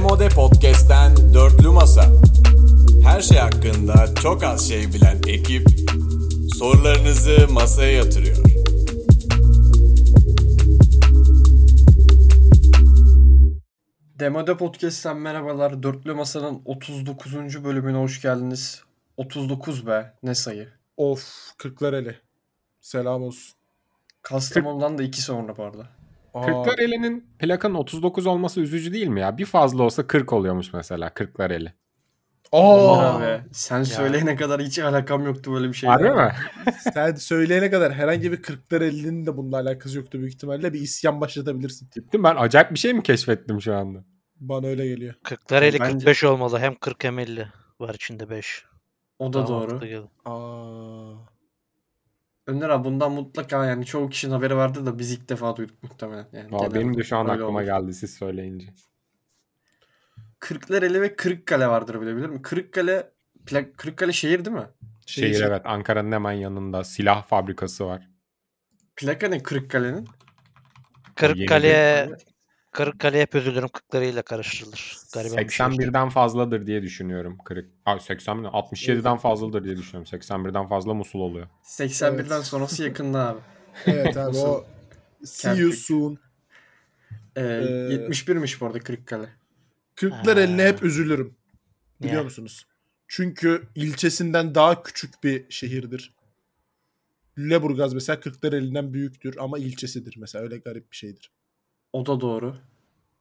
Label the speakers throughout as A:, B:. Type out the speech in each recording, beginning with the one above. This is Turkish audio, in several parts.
A: Komode Podcast'ten Dörtlü Masa. Her şey hakkında çok az şey bilen ekip sorularınızı masaya yatırıyor.
B: Demode Podcast'ten merhabalar. Dörtlü Masa'nın 39. bölümüne hoş geldiniz. 39 be ne sayı.
C: Of Kırklareli. Selam olsun.
B: Kastamonu'dan da 2 sonra bu arada.
C: Aa,
D: Kırklareli'nin plakanın 39 olması üzücü değil mi ya? Bir fazla olsa 40 oluyormuş mesela Kırklareli.
B: Aman
C: Aa,
B: abi sen söyleyene kadar hiç alakam yoktu böyle bir şeyle.
D: Harbi Şey mi?
C: sen söyleyene kadar herhangi bir Kırklareli'nin de bununla alakası yoktu büyük ihtimalle. Bir isyan başlatabilirsin.
D: Gittim ben acayip bir şey mi keşfettim şu anda?
C: Bana öyle geliyor.
E: 40'lar 50
B: Bence-
E: 45 olmalı. Hem 40 hem 50 var içinde 5.
B: O da doğru.
C: Aa.
B: Önder abi bundan mutlaka yani çoğu kişinin haberi vardı da biz ilk defa duyduk muhtemelen. Yani
D: Vallahi
B: genel
D: benim de şu an
B: öyle
D: aklıma
B: oldu.
D: geldi siz söyleyince.
B: Kırklareli ve Kırıkkale vardır bilebilir mi? Kırıkkale, plak, Kırıkkale şehir değil mi?
C: Şey,
D: Şehir
C: şey,
D: evet Ankara'nın hemen yanında silah fabrikası var.
B: Plaka ne Kırıkkale'nin?
E: Kırıkkale'ye Kırıkkale hep özür dilerim 40'ları ile karıştırılır. Gariban bir şey.
D: 81'den fazladır diye düşünüyorum. Kırık. Ay 80 mi? 67'den fazladır diye düşünüyorum. 81'den fazla Musul oluyor.
B: 81'den
C: Evet.
B: sonrası yakında abi.
C: Evet abi o. See you soon.
B: Ee,
C: Ee,
B: 71'miş bu arada Kırıkkale.
C: Kırklareli'ne hep üzülürüm. Biliyor
E: Niye?
C: musunuz? Çünkü ilçesinden daha küçük bir şehirdir. Lüleburgaz mesela Kırklareli'nden büyüktür ama ilçesidir mesela. Öyle garip bir şeydir.
B: O da doğru.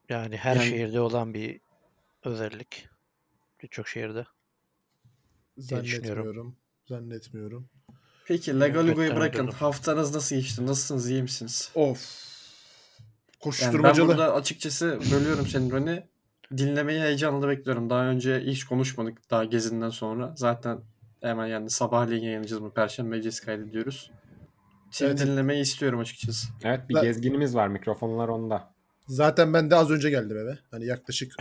E: Yani her
B: Yani-
E: şehirde olan bir özellik. Birçok şehirde. düşünüyorum.
C: Zannetmiyorum. Zannetmiyorum.
B: Peki Legalugo'yu
E: Evet,
B: bırakın.
E: evet.
B: Haftanız nasıl geçti? Nasılsınız? iyi misiniz?
C: Of.
B: Yani ben
C: Koşturmacalı.
B: burada açıkçası bölüyorum seni Roni. Dinlemeyi heyecanla bekliyorum. Daha önce hiç konuşmadık daha gezinden sonra. Zaten hemen yani sabahleyin yayınlayacağız bu Perşembe gecesi kaydediyoruz. Seni
C: Evet.
B: dinlemeyi istiyorum açıkçası.
D: Evet bir
C: Ben-
D: gezginimiz var mikrofonlar onda.
C: Zaten ben de az önce geldim eve. Hani yaklaşık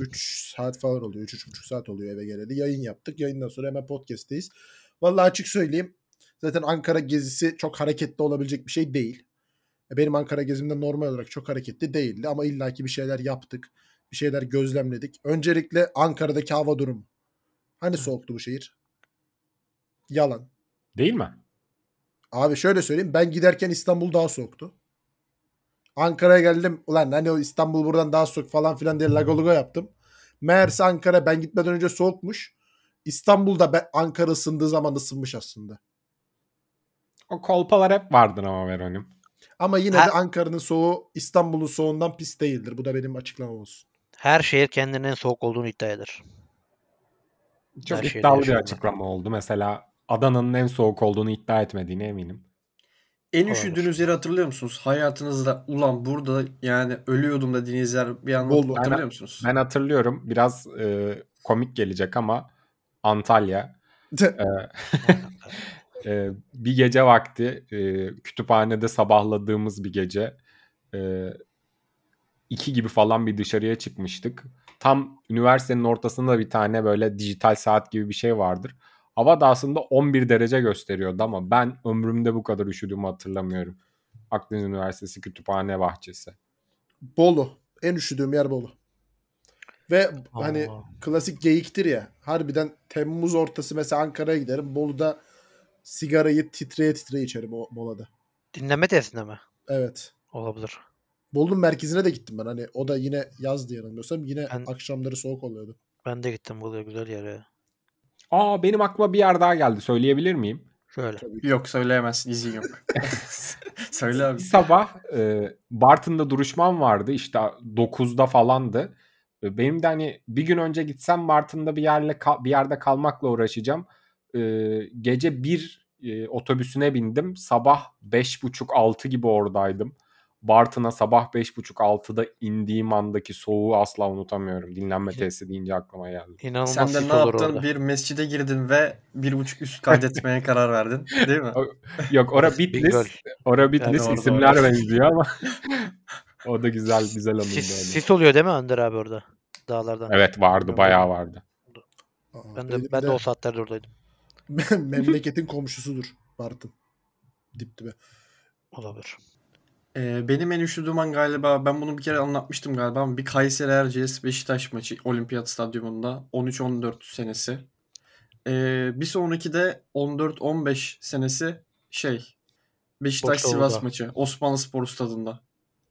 C: 3 saat falan oluyor. 3-3,5 saat oluyor eve geleli. Yayın yaptık. Yayından sonra hemen podcast'teyiz. Vallahi açık söyleyeyim. Zaten Ankara gezisi çok hareketli olabilecek bir şey değil. Benim Ankara gezimde normal olarak çok hareketli değildi ama illaki bir şeyler yaptık. Bir şeyler gözlemledik. Öncelikle Ankara'daki hava durumu. Hani soğuktu bu şehir? Yalan.
D: Değil mi?
C: Abi şöyle söyleyeyim. Ben giderken İstanbul daha soğuktu. Ankara'ya geldim. Ulan hani o İstanbul buradan daha soğuk falan filan diye lagolugo yaptım. Meğerse Ankara ben gitmeden önce soğukmuş. İstanbul'da ben, Ankara ısındığı zaman ısınmış aslında.
D: O kolpalar hep vardır ama Veronim.
C: Ama yine
E: Ha-
C: de Ankara'nın soğuğu İstanbul'un soğuğundan pis değildir. Bu da benim açıklamam olsun.
E: Her şehir kendinin en soğuk olduğunu iddia eder.
D: Çok
E: Her şeyde
D: iddialı bir
E: yaşandı.
D: açıklama oldu. Mesela Adana'nın en soğuk olduğunu iddia etmediğine eminim.
B: En
E: Olabilir.
B: üşüdüğünüz yeri hatırlıyor musunuz? Hayatınızda ulan burada yani ölüyordum da dediğiniz yer bir anlamda
C: Bolu.
B: hatırlıyor musunuz?
D: Ben hatırlıyorum biraz e, komik gelecek ama Antalya e,
E: Hani
D: e, bir gece vakti e, kütüphanede sabahladığımız bir gece e, iki gibi falan bir dışarıya çıkmıştık. Tam üniversitenin ortasında bir tane böyle dijital saat gibi bir şey vardır. Hava da aslında 11 derece gösteriyordu ama ben ömrümde bu kadar üşüdüğümü hatırlamıyorum. Akdeniz Üniversitesi kütüphane bahçesi.
C: Bolu. En üşüdüğüm yer Bolu. Ve hani
E: Allah.
C: klasik geyiktir ya. Harbiden Temmuz ortası mesela Ankara'ya giderim. Bolu'da sigarayı titreye titreye içerim o molada.
E: Dinleme tesisinde mi?
C: Evet.
E: Olabilir.
C: Bolu'nun merkezine de gittim ben. Hani o da yine yazdı yanılmıyorsam. Yine
E: Ben-
C: akşamları soğuk oluyordu.
E: Ben de gittim buraya güzel yere.
D: Aa benim aklıma bir yer daha geldi. Söyleyebilir miyim?
E: Şöyle.
B: Yok söyleyemezsin. izin yok. Söyle abi.
D: Bir sabah e, Bartın'da duruşmam vardı. İşte 9'da falandı. E, Benim de hani bir gün önce gitsem Bartın'da bir yerle kal- bir yerde kalmakla uğraşacağım. E, gece bir e, otobüsüne bindim. Sabah 5.30-6 gibi oradaydım. Bartın'a sabah 5.30-6'da indiğim andaki soğuğu asla unutamıyorum. Dinlenme tesisi deyince aklıma geldi.
E: İnanılmaz
B: Sen de
E: sit
B: ne
E: olur
B: yaptın?
E: orada.
B: Bir mescide girdin ve bir buçuk üst kaydetmeye karar verdin. Değil mi?
D: Yok ora
E: Bir göl.
D: Bitlis, ora Bitlis
B: doğru,
D: isimler
B: doğru.
D: benziyor ama o da güzel güzel anıldı.
E: Sis,
D: öyle.
E: sis oluyor değil mi Önder abi orada? Dağlardan.
D: Evet vardı bayağı vardı.
C: Aa,
E: Ben
C: benim
E: de, ben de o saatlerde oradaydım.
C: memleketin komşusudur Bartın. Dip dibe.
E: Olabilir.
B: Ee, benim en üşüdüğüm an galiba ben bunu bir kere anlatmıştım galiba ama bir Kayseri Erciyes Beşiktaş maçı Olimpiyat Stadyumunda 13-14 senesi. Ee, bir sonraki de 14-15 senesi şey Beşiktaş Sivas
E: Boşoğlu'da.
B: maçı Osmanlı Spor Stadı'nda.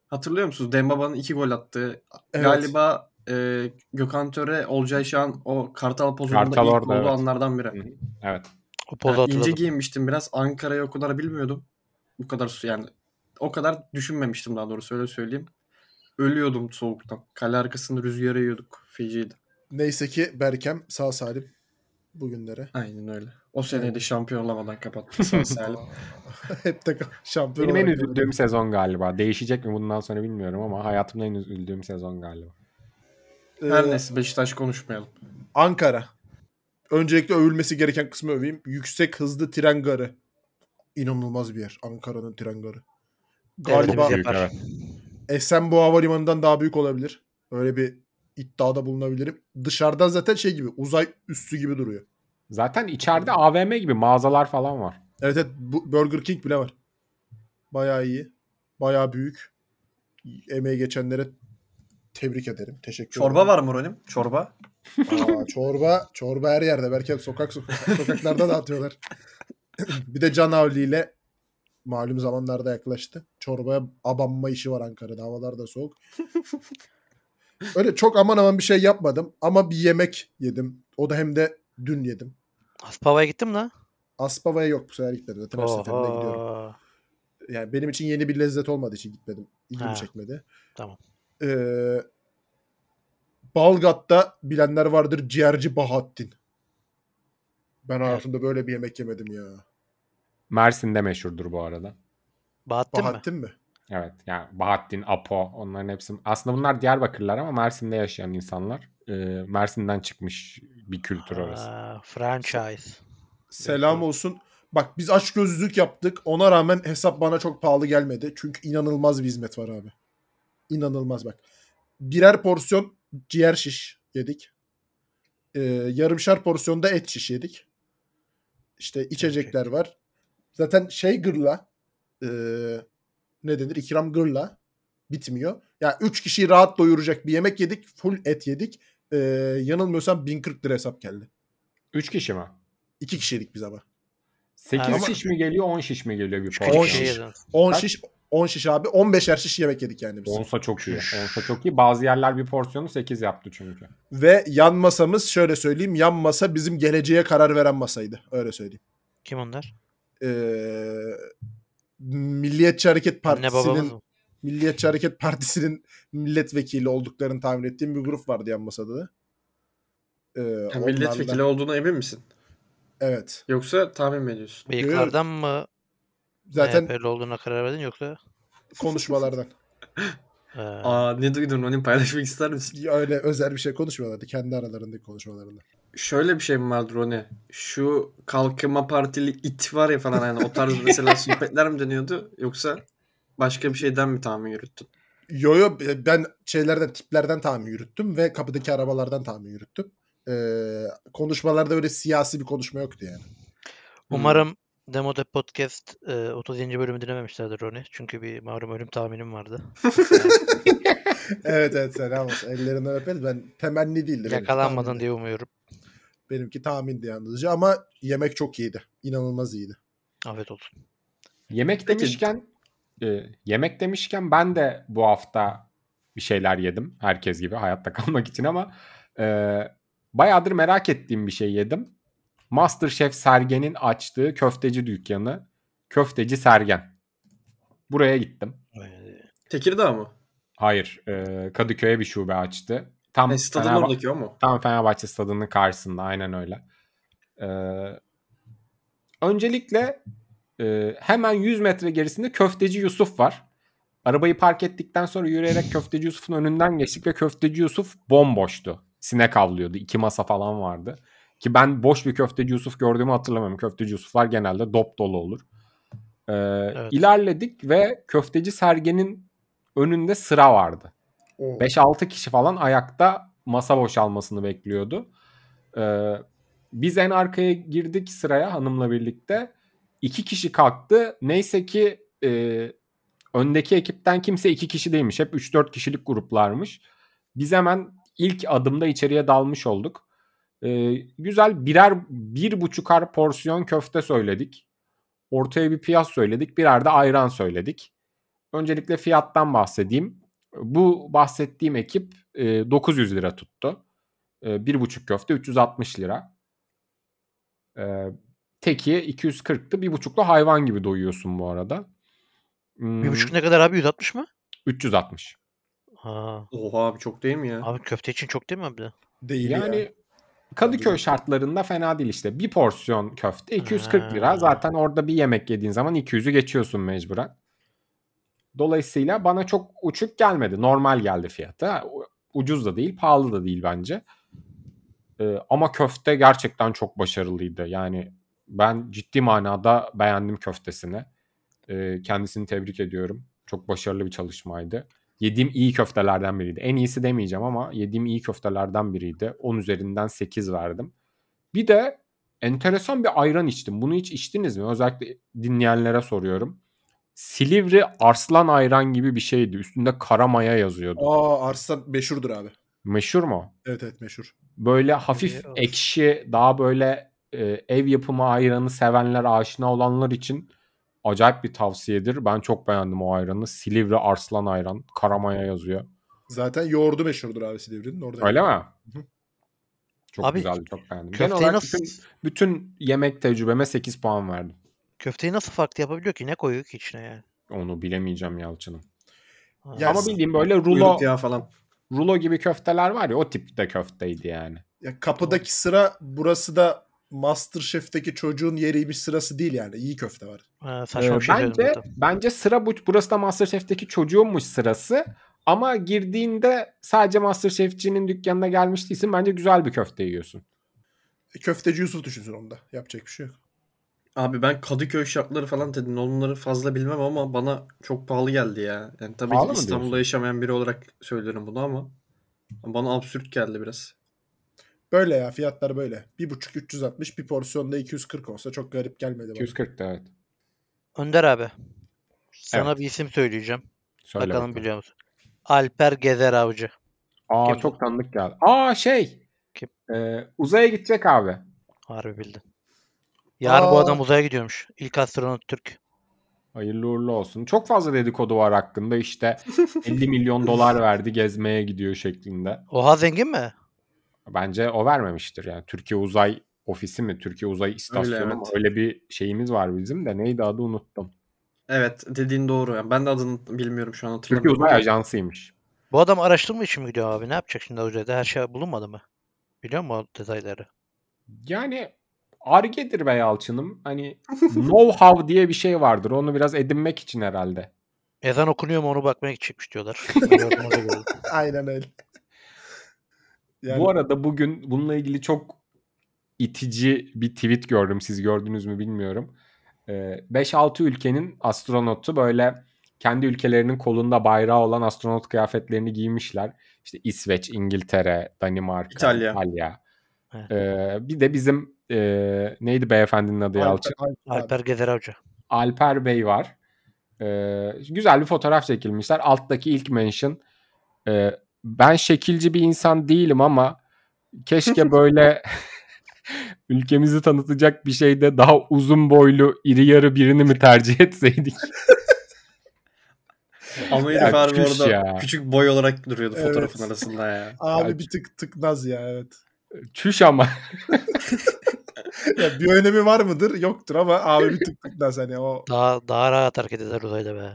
B: Hatırlıyor musunuz? Dembaba'nın iki gol attığı.
C: Evet.
B: Galiba e, Gökhan Töre, Olcay Şahan o Kartal pozunda
D: Kartal
B: ilk
D: orada,
B: olduğu
D: evet.
B: anlardan biri.
D: Evet.
E: O
B: Yani
E: pozu hatırladım.
B: ince giyinmiştim biraz. Ankara'yı o kadar bilmiyordum. Bu kadar su yani o kadar düşünmemiştim daha doğrusu öyle söyleyeyim. Ölüyordum soğuktan. Kale arkasında rüzgar yiyorduk. Feciydi.
C: Neyse ki Berkem sağ salim bugünlere.
B: Aynen öyle. O seneyi de şampiyon olamadan kapattı sağ salim.
C: Hep de şampiyon
D: Benim en
C: olarak-
D: üzüldüğüm sezon galiba. Değişecek mi bundan sonra bilmiyorum ama hayatımda en üzüldüğüm sezon galiba.
B: Her
C: Ee,
B: neyse Beşiktaş konuşmayalım.
C: Ankara. Öncelikle övülmesi gereken kısmı öveyim. Yüksek hızlı tren garı. İnanılmaz bir yer. Ankara'nın tren garı. Galiba
E: Devletimiz yapar.
D: Büyük,
C: Esenboğa Havalimanı'ndan daha büyük olabilir. Öyle bir iddiada bulunabilirim. Dışarıdan zaten şey gibi uzay üssü gibi duruyor.
D: Zaten içeride AVM gibi mağazalar falan var.
C: Evet evet bu Burger King bile var. Bayağı iyi. Bayağı büyük. Emeği geçenlere tebrik ederim. Teşekkür
B: Çorba
C: ederim.
B: var mı Ronim? Çorba.
C: Aa, çorba, çorba her yerde. Belki sokak sokak sokaklarda dağıtıyorlar. bir de Can Avli ile malum zamanlarda yaklaştı. Çorbaya abanma işi var Ankara'da. Havalar da soğuk. Öyle çok aman aman bir şey yapmadım ama bir yemek yedim. O da hem de dün yedim.
E: Aspava'ya gittim lan.
C: Aspava'ya yok bu sefer gitmedim. Zaten her seferinde gidiyorum.
E: Oho.
C: Yani benim için yeni bir lezzet olmadığı için gitmedim. İlgimi
E: Ha.
C: çekmedi.
E: Tamam.
C: Ee, Balgat'ta bilenler vardır ciğerci Bahattin. Ben hayatımda böyle bir yemek yemedim ya.
D: Mersin'de meşhurdur bu arada.
E: Bahattin mi?
C: Bahattin mi?
D: Evet yani Bahattin, Apo onların hepsi. Aslında bunlar Diyarbakırlılar ama Mersin'de yaşayan insanlar. Ee, Mersin'den çıkmış bir kültür orası.
E: Aa, franchise.
C: Selam olsun. Bak biz aç gözlülük yaptık. Ona rağmen hesap bana çok pahalı gelmedi. Çünkü inanılmaz bir hizmet var abi. İnanılmaz bak. Birer porsiyon ciğer şiş yedik. Ee, yarımşar porsiyonda et şiş yedik. İşte içecekler var. Zaten şey gırla ee, ne denir? İkram gırla bitmiyor. Ya üç kişiyi rahat doyuracak bir yemek yedik. Full et yedik. Ee, yanılmıyorsam 1040 lira hesap geldi.
D: Üç kişi mi?
C: İki kişiydik biz ama.
D: 8
E: Ama-
D: şiş mi geliyor 10 şiş mi geliyor bir
C: On
E: Küçük
C: şiş.
D: porsiyon?
E: şehirden.
C: 10
D: Kaç?
C: şiş 10 şiş abi. 15'er şiş yemek yedik yani biz.
D: Onsa çok iyi. Onsa çok iyi. Bazı yerler bir porsiyonu 8 yaptı çünkü.
C: Ve yan masamız şöyle söyleyeyim. Yan masa bizim geleceğe karar veren masaydı. Öyle söyleyeyim.
E: Kim onlar?
C: Ee, Milliyetçi Hareket
E: Anne babamız
C: Partisi'nin
E: mı?
C: Milliyetçi Hareket Partisi'nin milletvekili olduklarını tahmin ettiğim bir grup vardı yan masada da. Ee,
B: Yani
C: onlarla-
B: milletvekili olduğuna emin misin?
C: Evet.
B: Yoksa tahmin mi ediyorsun?
E: Bıyıklardan mı
C: Zaten
E: MHP'li olduğuna karar verdin yoksa?
C: konuşmalardan.
E: Ee,
B: Aa ne duydun Ronim paylaşmak ister misin?
C: Öyle özel bir şey konuşmuyorlardı. Kendi aralarındaki konuşmalarında.
B: Şöyle bir şey mi vardır Roni? Şu Kalkınma Partili it var ya falan yani o tarz mesela sohbetler mi dönüyordu yoksa başka bir şeyden mi tahmin yürüttün?
C: Yo yo ben şeylerden tiplerden tahmin yürüttüm ve kapıdaki arabalardan tahmin yürüttüm. Ee, konuşmalarda öyle siyasi bir konuşma yoktu yani.
E: umarım Demode Podcast e, 37. bölümü dinlememişlerdir Roni. Çünkü bir mahrum ölüm tahminim vardı.
C: evet evet selam olsun. Ellerinden öperiz. Ben temenni değildi. benimki
E: Yakalanmadın
C: tahmindi.
E: diye umuyorum.
C: Benimki tahmindi yalnızca ama yemek çok iyiydi. İnanılmaz iyiydi.
E: Afiyet olsun.
D: Yemek
B: Peki.
D: demişken e, yemek demişken ben de bu hafta bir şeyler yedim. Herkes gibi hayatta kalmak için ama e, bayağıdır merak ettiğim bir şey yedim. Masterchef Sergen'in açtığı köfteci dükkanı Köfteci Sergen. Buraya gittim.
E: Ee,
B: Tekirdağ mı?
D: Hayır e, Kadıköy'e bir şube açtı. Tam
B: E, stadın
D: Fenerba-
B: oradaki o mu?
D: Tam Fenerbahçe stadının karşısında aynen öyle. Ee, öncelikle e, hemen 100 metre gerisinde Köfteci Yusuf var. Arabayı park ettikten sonra yürüyerek Köfteci Yusuf'un önünden geçtik ve Köfteci Yusuf bomboştu. Sinek avlıyordu. iki masa falan vardı. Ki ben boş bir Köfteci Yusuf gördüğümü hatırlamıyorum. Köfteci Yusuflar genelde dop dolu olur. Ee, İlerledik ve Köfteci Sergen'in önünde sıra vardı. 5-6 kişi falan ayakta masa boşalmasını bekliyordu. Ee, biz en arkaya girdik sıraya hanımla birlikte. İki kişi kalktı. Neyse ki e, öndeki ekipten kimse iki kişi değilmiş. Hep 3-4 kişilik gruplarmış. Biz hemen ilk adımda içeriye dalmış olduk. Ee, güzel birer bir buçukar porsiyon köfte söyledik. Ortaya bir piyaz söyledik. Birer de ayran söyledik. Öncelikle fiyattan bahsedeyim. Bu bahsettiğim ekip e, 900 lira tuttu. E, bir buçuk köfte 360 lira. E, teki 240'tı. Bir buçukla hayvan gibi doyuyorsun bu arada. Hmm,
E: Bir buçuk ne kadar abi? 160 mı?
D: 360.
E: Ha.
B: Oha abi çok değil mi ya?
E: Abi köfte için çok değil mi abi?
C: Değil
D: Yani
C: ya.
D: Kadıköy
C: Tabii.
D: şartlarında fena değil işte. Bir porsiyon köfte 240 lira.
E: Ha.
D: Zaten orada bir yemek yediğin zaman 200'ü geçiyorsun mecburen. Dolayısıyla bana çok uçuk gelmedi. Normal geldi fiyatı. Ucuz da değil, pahalı da değil bence. Ee, ama köfte gerçekten çok başarılıydı. Yani ben ciddi manada beğendim köftesini. Ee, kendisini tebrik ediyorum. Çok başarılı bir çalışmaydı. Yediğim iyi köftelerden biriydi. En iyisi demeyeceğim ama yediğim iyi köftelerden biriydi. 10 üzerinden 8 verdim. Bir de enteresan bir ayran içtim. Bunu hiç içtiniz mi? Özellikle dinleyenlere soruyorum. Silivri arslan ayran gibi bir şeydi. Üstünde kara maya yazıyordu.
C: Aa Arslan meşhurdur abi.
D: Meşhur mu?
C: Evet evet meşhur.
D: Böyle hafif
E: Biliyoruz.
D: ekşi, daha böyle e, ev yapımı ayranı sevenler, aşina olanlar için acayip bir tavsiyedir. Ben çok beğendim o ayranı. Silivri arslan ayran. Karamaya yazıyor.
C: Zaten yoğurdu meşhurdur abi Silivri'nin. Orada
D: Öyle mi? Çok
E: Abi,
D: güzeldi, çok beğendim. Genel
E: Köfteyi
D: olarak
E: nasıl
D: bütün, bütün yemek tecrübeme 8 puan verdim.
E: köfteyi nasıl farklı yapabiliyor ki? Ne koyuyor ki içine yani?
D: Onu bilemeyeceğim Yalçın'ın.
E: Ha.
C: Ya
D: Ama
C: s-
D: bildiğim böyle rulo,
B: Kuyruk yağı falan.
D: rulo gibi köfteler var ya o tip de köfteydi yani.
C: Ya kapıdaki sıra burası da Masterchef'teki çocuğun yeriymiş sırası değil yani. İyi köfte var.
E: Ha, saçma
D: Ee,
E: bir şey söyledim
D: bence,
E: zaten.
D: bence sıra bu, burası da Masterchef'teki çocuğunmuş sırası. Ama girdiğinde sadece Masterchef'cinin dükkanına gelmiş değilsin. Bence güzel bir köfte yiyorsun.
C: E, Köfteci Yusuf düşünsün onda. Yapacak bir şey yok.
B: Abi ben Kadıköy şartları falan dedin. Onları fazla bilmem ama bana çok pahalı geldi ya. Yani tabii
D: Pahalı
B: ki
D: mı
B: İstanbul'da
D: diyorsun?
B: yaşamayan biri olarak söylüyorum bunu ama bana absürt geldi biraz.
C: Böyle ya fiyatlar böyle. Bir buçuk 360 bir porsiyonda 240 olsa çok garip gelmedi bana.
D: 240 da evet.
E: Önder abi. Sana bir isim söyleyeceğim.
D: Söyle
E: Bakalım
D: bakalım.
E: biliyor musun? Alper Gezer Avcı.
D: Aa
E: Kim?
D: çok tanıdık geldi. Aa şey.
E: Kim?
D: Ee, uzaya gidecek abi.
E: Harbi bildin. Yarın bu
C: Aa.
E: adam uzaya gidiyormuş. İlk astronot Türk.
D: Hayırlı uğurlu olsun. Çok fazla dedikodu var hakkında işte 50 milyon dolar verdi gezmeye gidiyor şeklinde.
E: Oha zengin mi?
D: Bence o vermemiştir yani. Türkiye Uzay Ofisi mi? Türkiye Uzay İstasyonu öyle, mu?
B: evet.
D: Öyle bir şeyimiz var bizim de. Neydi adı unuttum.
B: Evet dediğin doğru. Yani ben de adını bilmiyorum şu an
D: Türkiye
B: hatırlamıyorum.
D: Uzay Ajansı'ymış.
E: Bu adam araştırma için mi gidiyor abi? Ne yapacak şimdi uzayda? Her şey bulunmadı mı? Biliyor musun o detayları?
D: Yani argedir be Yalçın'ım. Hani know-how diye bir şey vardır. Onu biraz edinmek için herhalde.
E: Ezan okunuyor mu onu bakmaya gidecekmiş diyorlar. Ben gördüm, onu da gördüm.
C: Aynen öyle. Yani
D: Bu arada bugün bununla ilgili çok itici bir tweet gördüm. Siz gördünüz mü bilmiyorum. Ee, 5-6 ülkenin astronotu böyle kendi ülkelerinin kolunda bayrağı olan astronot kıyafetlerini giymişler. İşte İsveç, İngiltere, Danimarka, İtalya.
B: İtalya.
E: Evet.
D: Ee, bir de bizim e, neydi beyefendinin adı Yalçın?
C: Alper- Alper abi.
E: Alper Gezer Avcı.
D: Alper Bey var. Ee, güzel bir fotoğraf çekilmişler. Alttaki ilk mention e, ben şekilci bir insan değilim ama keşke böyle ülkemizi tanıtacak bir şeyde daha uzun boylu iri yarı birini mi tercih etseydik?
B: Ama
D: Ya,
B: herif harbi
D: çüş
B: orada
D: ya.
B: küçük boy olarak duruyordu
C: Evet.
B: fotoğrafın arasında ya.
C: Abi bir tık tık naz ya evet.
D: Çüş ama.
C: Ya bir önemi var mıdır? Yoktur ama abi bir tık tık naz hani o
E: Daha, daha rahat hareket eder uzayda be.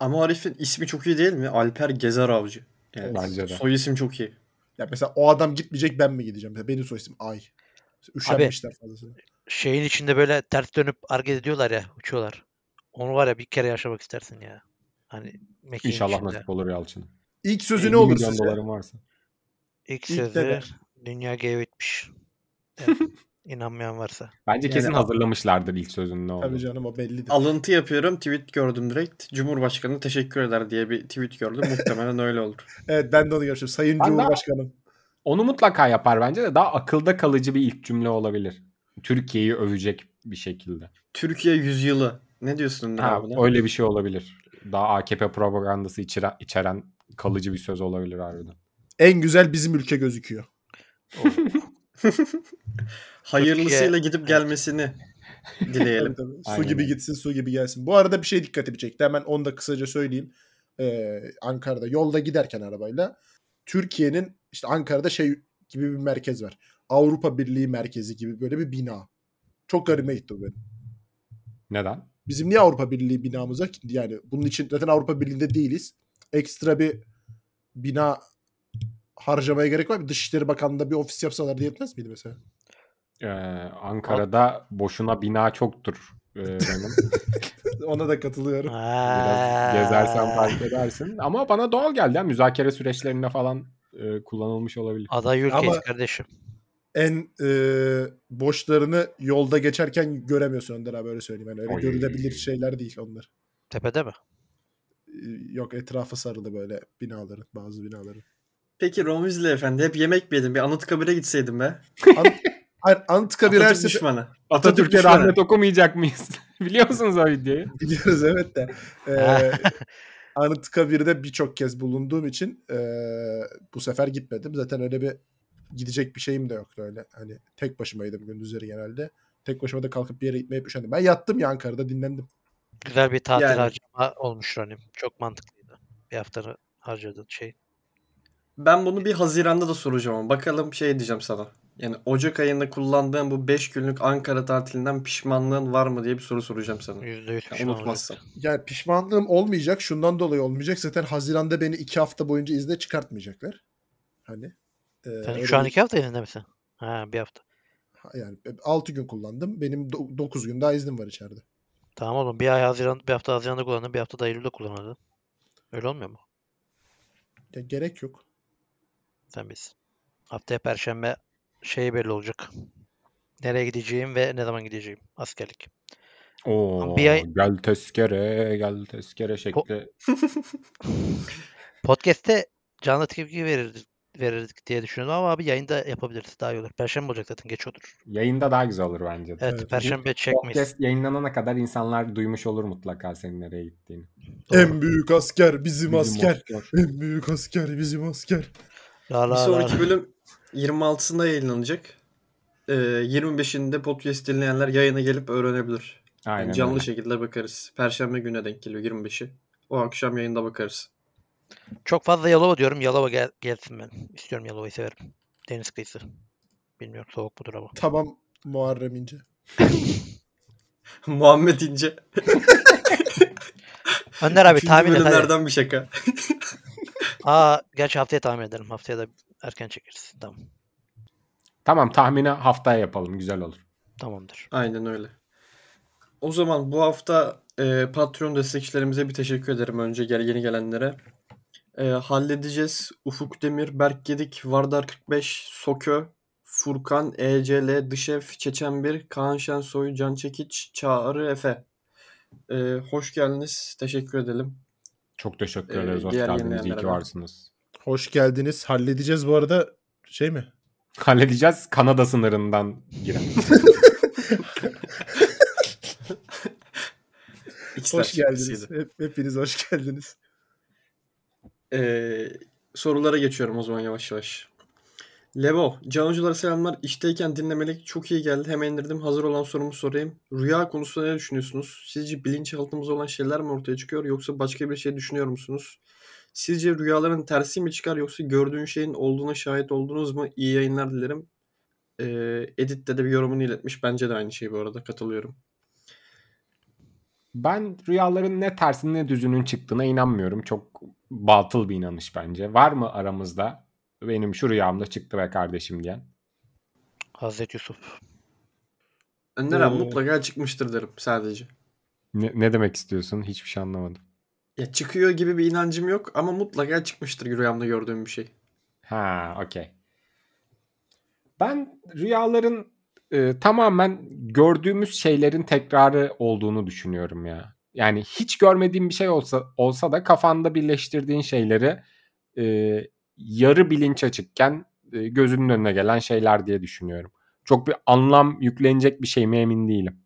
B: Ama o herifin ismi çok iyi değil mi? Alper Gezer Avcı. Yani
D: Bence de.
B: Soy isim çok iyi.
C: ya mesela o adam gitmeyecek ben mi gideceğim? Mesela benim soy isim Ay. Üşenmişler fazlasıyla.
E: Şeyin içinde böyle ters dönüp hareket ediyorlar ya. Uçuyorlar. Onu var ya bir kere yaşamak istersin ya. Hani mekiğin
D: İnşallah
E: içinde.
D: nasip olur Yalçın.
C: İlk sözü
D: 50
C: ne olur
D: milyon
C: sizce?
D: dolarım varsa.
C: İlk
E: İlk
C: ne
E: sözü
C: der?
E: dünya gay bitmiş. Evet, İnanmayan varsa.
D: Bence kesin
B: Yani-
D: hazırlamışlardır ilk sözün ne olduğunu.
C: Tabii canım o bellidir.
B: Alıntı yapıyorum. Tweet gördüm direkt. Cumhurbaşkanı teşekkür eder diye bir tweet gördüm. Muhtemelen öyle olur.
C: Evet ben de onu görüşürüm. Sayın
D: Ben daha-
C: Cumhurbaşkanım.
D: Onu mutlaka yapar bence de daha akılda kalıcı bir ilk cümle olabilir. Türkiye'yi övecek bir şekilde.
B: Türkiye yüzyılı. Ne diyorsun Önder
D: Ha,
B: abi?
D: öyle bir şey olabilir. daha AKP propagandası içeren, içeren kalıcı bir söz olabilir harbiden.
C: En güzel bizim ülke gözüküyor.
B: Hayırlısıyla gidip gelmesini dileyelim.
C: Tabii, tabii. Su
D: Aynen
C: gibi
D: öyle.
C: gitsin, su gibi gelsin. Bu arada bir şey dikkatimi çekti. Hemen onu da kısaca söyleyeyim. Ee, Ankara'da yolda giderken arabayla Türkiye'nin işte Ankara'da şey gibi bir merkez var. Avrupa Birliği merkezi gibi böyle bir bina. Çok garime gitti bu benim.
D: Neden?
C: Bizim niye Avrupa Birliği binamız var ki? Yani bunun için zaten Avrupa Birliği'nde değiliz. Ekstra bir bina harcamaya gerek var mı? Dışişleri Bakanlığı'nda bir ofis yapsalar diye yetmez miydi mesela?
D: Ee, Ankara'da boşuna bina çoktur. Ee, benim.
C: Ona da katılıyorum.
D: Biraz gezersen
E: Aa,
D: fark edersin. Ama bana doğal geldi. ya. Müzakere süreçlerinde falan e, kullanılmış olabilir.
E: Aday ülkeyiz
C: Ama-
E: kardeşim.
C: en e, boşlarını yolda geçerken göremiyorsun Önder abi öyle söyleyeyim. Yani öyle
D: Oy.
C: görülebilir şeyler değil onlar.
E: Tepede mi?
C: E, Yok etrafı sarılı böyle binaların bazı binaların.
B: Peki Romizli efendi hep yemek mi yedin? Bir Anıtkabir'e gitseydim be.
C: Hayır Anıtkabir her şey
B: Atatürk
C: sefer
B: düşmanı.
D: Atatürk'e rahmet okumayacak mıyız? Biliyor musunuz o videoyu?
C: biliyoruz evet de. E,
E: Ha.
C: Anıtkabir'de birçok kez bulunduğum için e, bu sefer gitmedim. Zaten öyle bir gidecek bir şeyim de yoktu öyle. Hani tek başımaydım gündüzleri genelde. Tek başıma da kalkıp bir yere gitmeye üşendim. Ben yattım ya Ankara'da dinlendim.
E: Güzel bir tatil
B: Yani.
E: harcama olmuş Ronim. Çok mantıklıydı. Bir haftanı harcadın şey.
B: Ben bunu bir Haziran'da da soracağım. Bakalım şey diyeceğim sana. Yani Ocak ayında kullandığın bu 5 günlük Ankara tatilinden pişmanlığın var mı diye bir soru soracağım sana.
E: Yüzde yüz
B: Yani
E: pişman
B: unutmazsan.
E: olacaksın.
C: Yani pişmanlığım olmayacak. Şundan dolayı olmayacak. Zaten Haziran'da beni iki hafta boyunca izne çıkartmayacaklar. Hani. e,
E: Sen
C: öyle
E: şu an
C: bir-
E: iki hafta izinde misin? Ha bir hafta.
C: Yani 6 gün kullandım. Benim 9 gün daha iznim var içeride.
E: Tamam oğlum bir ay Haziran, bir hafta Haziran'da kullandın, bir hafta da Eylül'de kullanırdın. Öyle olmuyor mu?
C: Ya gerek yok.
E: Sen bilirsin. Haftaya Perşembe şey belli olacak. Nereye gideceğim ve ne zaman gideceğim. Askerlik.
D: Oo,
E: Bir ay-
D: Gel tezkere, gel tezkere şekli.
E: Podcast'te canlı tepki verirdik, verirdik diye düşünüyorum ama abi yayında yapabiliriz. Daha iyi olur. Perşembe olacak zaten geç olur.
D: Yayında daha güzel olur bence de.
E: Evet,
C: Evet,
E: Perşembe çekmeyiz.
D: Podcast yayınlanana kadar insanlar duymuş olur mutlaka senin nereye gittiğini.
E: Doğru.
C: En büyük asker bizim,
D: Bizim
C: asker. En büyük asker bizim asker.
E: La
B: Bir
E: la la.
B: sonraki bölüm 26'sında yayınlanacak. Ee, 25'inde podcast dinleyenler yayına gelip öğrenebilir. Yani
D: Aynen
B: canlı şey-
D: öyle.
B: şekilde bakarız. Perşembe güne denk geliyor 25'i. O akşam yayında bakarız.
E: Çok fazla Yalova diyorum. Yalova gel- gelsin ben. İstiyorum Yalova'yı severim. Deniz kıyısı. Bilmiyorum soğuk mudur ama.
C: Tamam Muharrem İnce.
B: Muhammed İnce.
E: Önder abi
B: Üçüncü
E: E, tahmin et hadi.
B: bölümlerden bir şaka.
E: Aa, gerçi haftaya tahmin edelim. Haftaya da erken çekeriz. Tamam.
D: Tamam tahmini haftaya yapalım güzel olur.
E: Tamamdır.
B: Aynen öyle. O zaman bu hafta e, Patreon destekçilerimize bir teşekkür ederim önce gel yeni gelenlere. E, halledeceğiz. Ufuk Demir, Berk Gedik, Vardar 45, Sokö, Furkan, E ECL, Dışef, Çeçen 1, Kaan Şensoy, Can Çekiç, Çağrı Efe. E, hoş geldiniz. Teşekkür edelim.
D: Çok teşekkür
B: Ee,
D: ederiz. Hoş
B: diğer
D: geldiniz. İyi
B: yayınlayanlara
D: ki
B: da.
D: varsınız.
C: Hoş geldiniz. Halledeceğiz bu arada şey mi?
D: Halledeceğiz Kanada sınırından giren.
B: İkizler
C: Hoş geldiniz.
B: şakasıydı.
C: Hep, hepiniz hoş geldiniz.
B: Ee, sorulara geçiyorum o zaman yavaş yavaş. Levo, Canonculara selamlar. İşteyken dinlemelik çok iyi geldi. Hemen indirdim. Hazır olan sorumu sorayım. Rüya konusunda ne düşünüyorsunuz? Sizce bilinçaltımızda olan şeyler mi ortaya çıkıyor yoksa başka bir şey düşünüyor musunuz? Sizce rüyaların tersi mi çıkar yoksa gördüğün şeyin olduğuna şahit oldunuz mu? İyi yayınlar dilerim. Ee, Edit'te de bir yorumunu iletmiş. Bence de aynı şey bu arada. Katılıyorum.
D: Ben rüyaların ne tersinin ne düzünün çıktığına inanmıyorum. Çok batıl bir inanış bence. Var mı aramızda benim şu rüyamda çıktı be kardeşim diyen?
E: Hazreti Yusuf.
B: Önder abi
C: Ee,
B: mutlaka çıkmıştır derim sadece.
D: Ne, ne demek istiyorsun? Hiçbir şey anlamadım.
B: Ya çıkıyor gibi bir inancım yok ama mutlaka çıkmıştır rüyamda gördüğüm bir şey.
D: Ha, okey. Ben rüyaların e, tamamen gördüğümüz şeylerin tekrarı olduğunu düşünüyorum ya. Yani hiç görmediğim bir şey olsa olsa da kafanda birleştirdiğin şeyleri e, yarı bilinç açıkken e, gözünün önüne gelen şeyler diye düşünüyorum. Çok bir anlam yüklenecek bir şey mi emin değilim.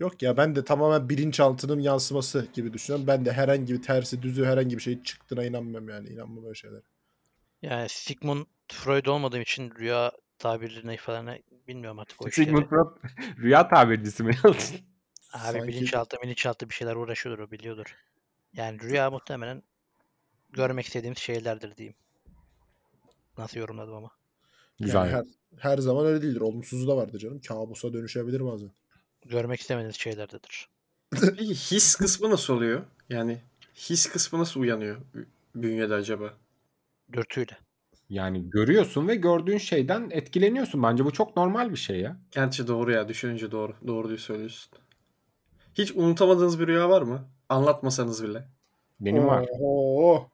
C: Yok ya ben de tamamen bilinçaltının yansıması gibi düşünüyorum. Ben de herhangi bir tersi düzü herhangi bir şey çıktığına inanmam yani. İnanmam öyle şeylere.
E: Yani Sigmund Freud olmadığım için rüya tabirine falan bilmiyorum artık o işleri.
D: Sigmund Freud rüya tabircisi mi?
E: Abi
C: Sanki-
E: bilinçaltı bilinçaltı bir şeyler uğraşıyordur o biliyordur. Yani rüya muhtemelen görmek istediğimiz şeylerdir diyeyim. Nasıl yorumladım ama.
D: Güzel.
C: Yani her, her zaman öyle değildir. Olumsuzu da vardır canım. Kabusa dönüşebilir bazen.
E: Görmek istemediğiniz şeylerdedir.
B: Peki his kısmı nasıl oluyor? Yani his kısmı nasıl uyanıyor bü- bünyede acaba?
E: Dürtüyle.
D: Yani görüyorsun ve gördüğün şeyden etkileniyorsun. Bence bu çok normal bir şey ya.
B: Gerçi doğru ya düşününce doğru. Doğruyu söylüyorsun. Hiç unutamadığınız bir rüya var mı? Anlatmasanız bile.
D: Benim var.
C: Oho.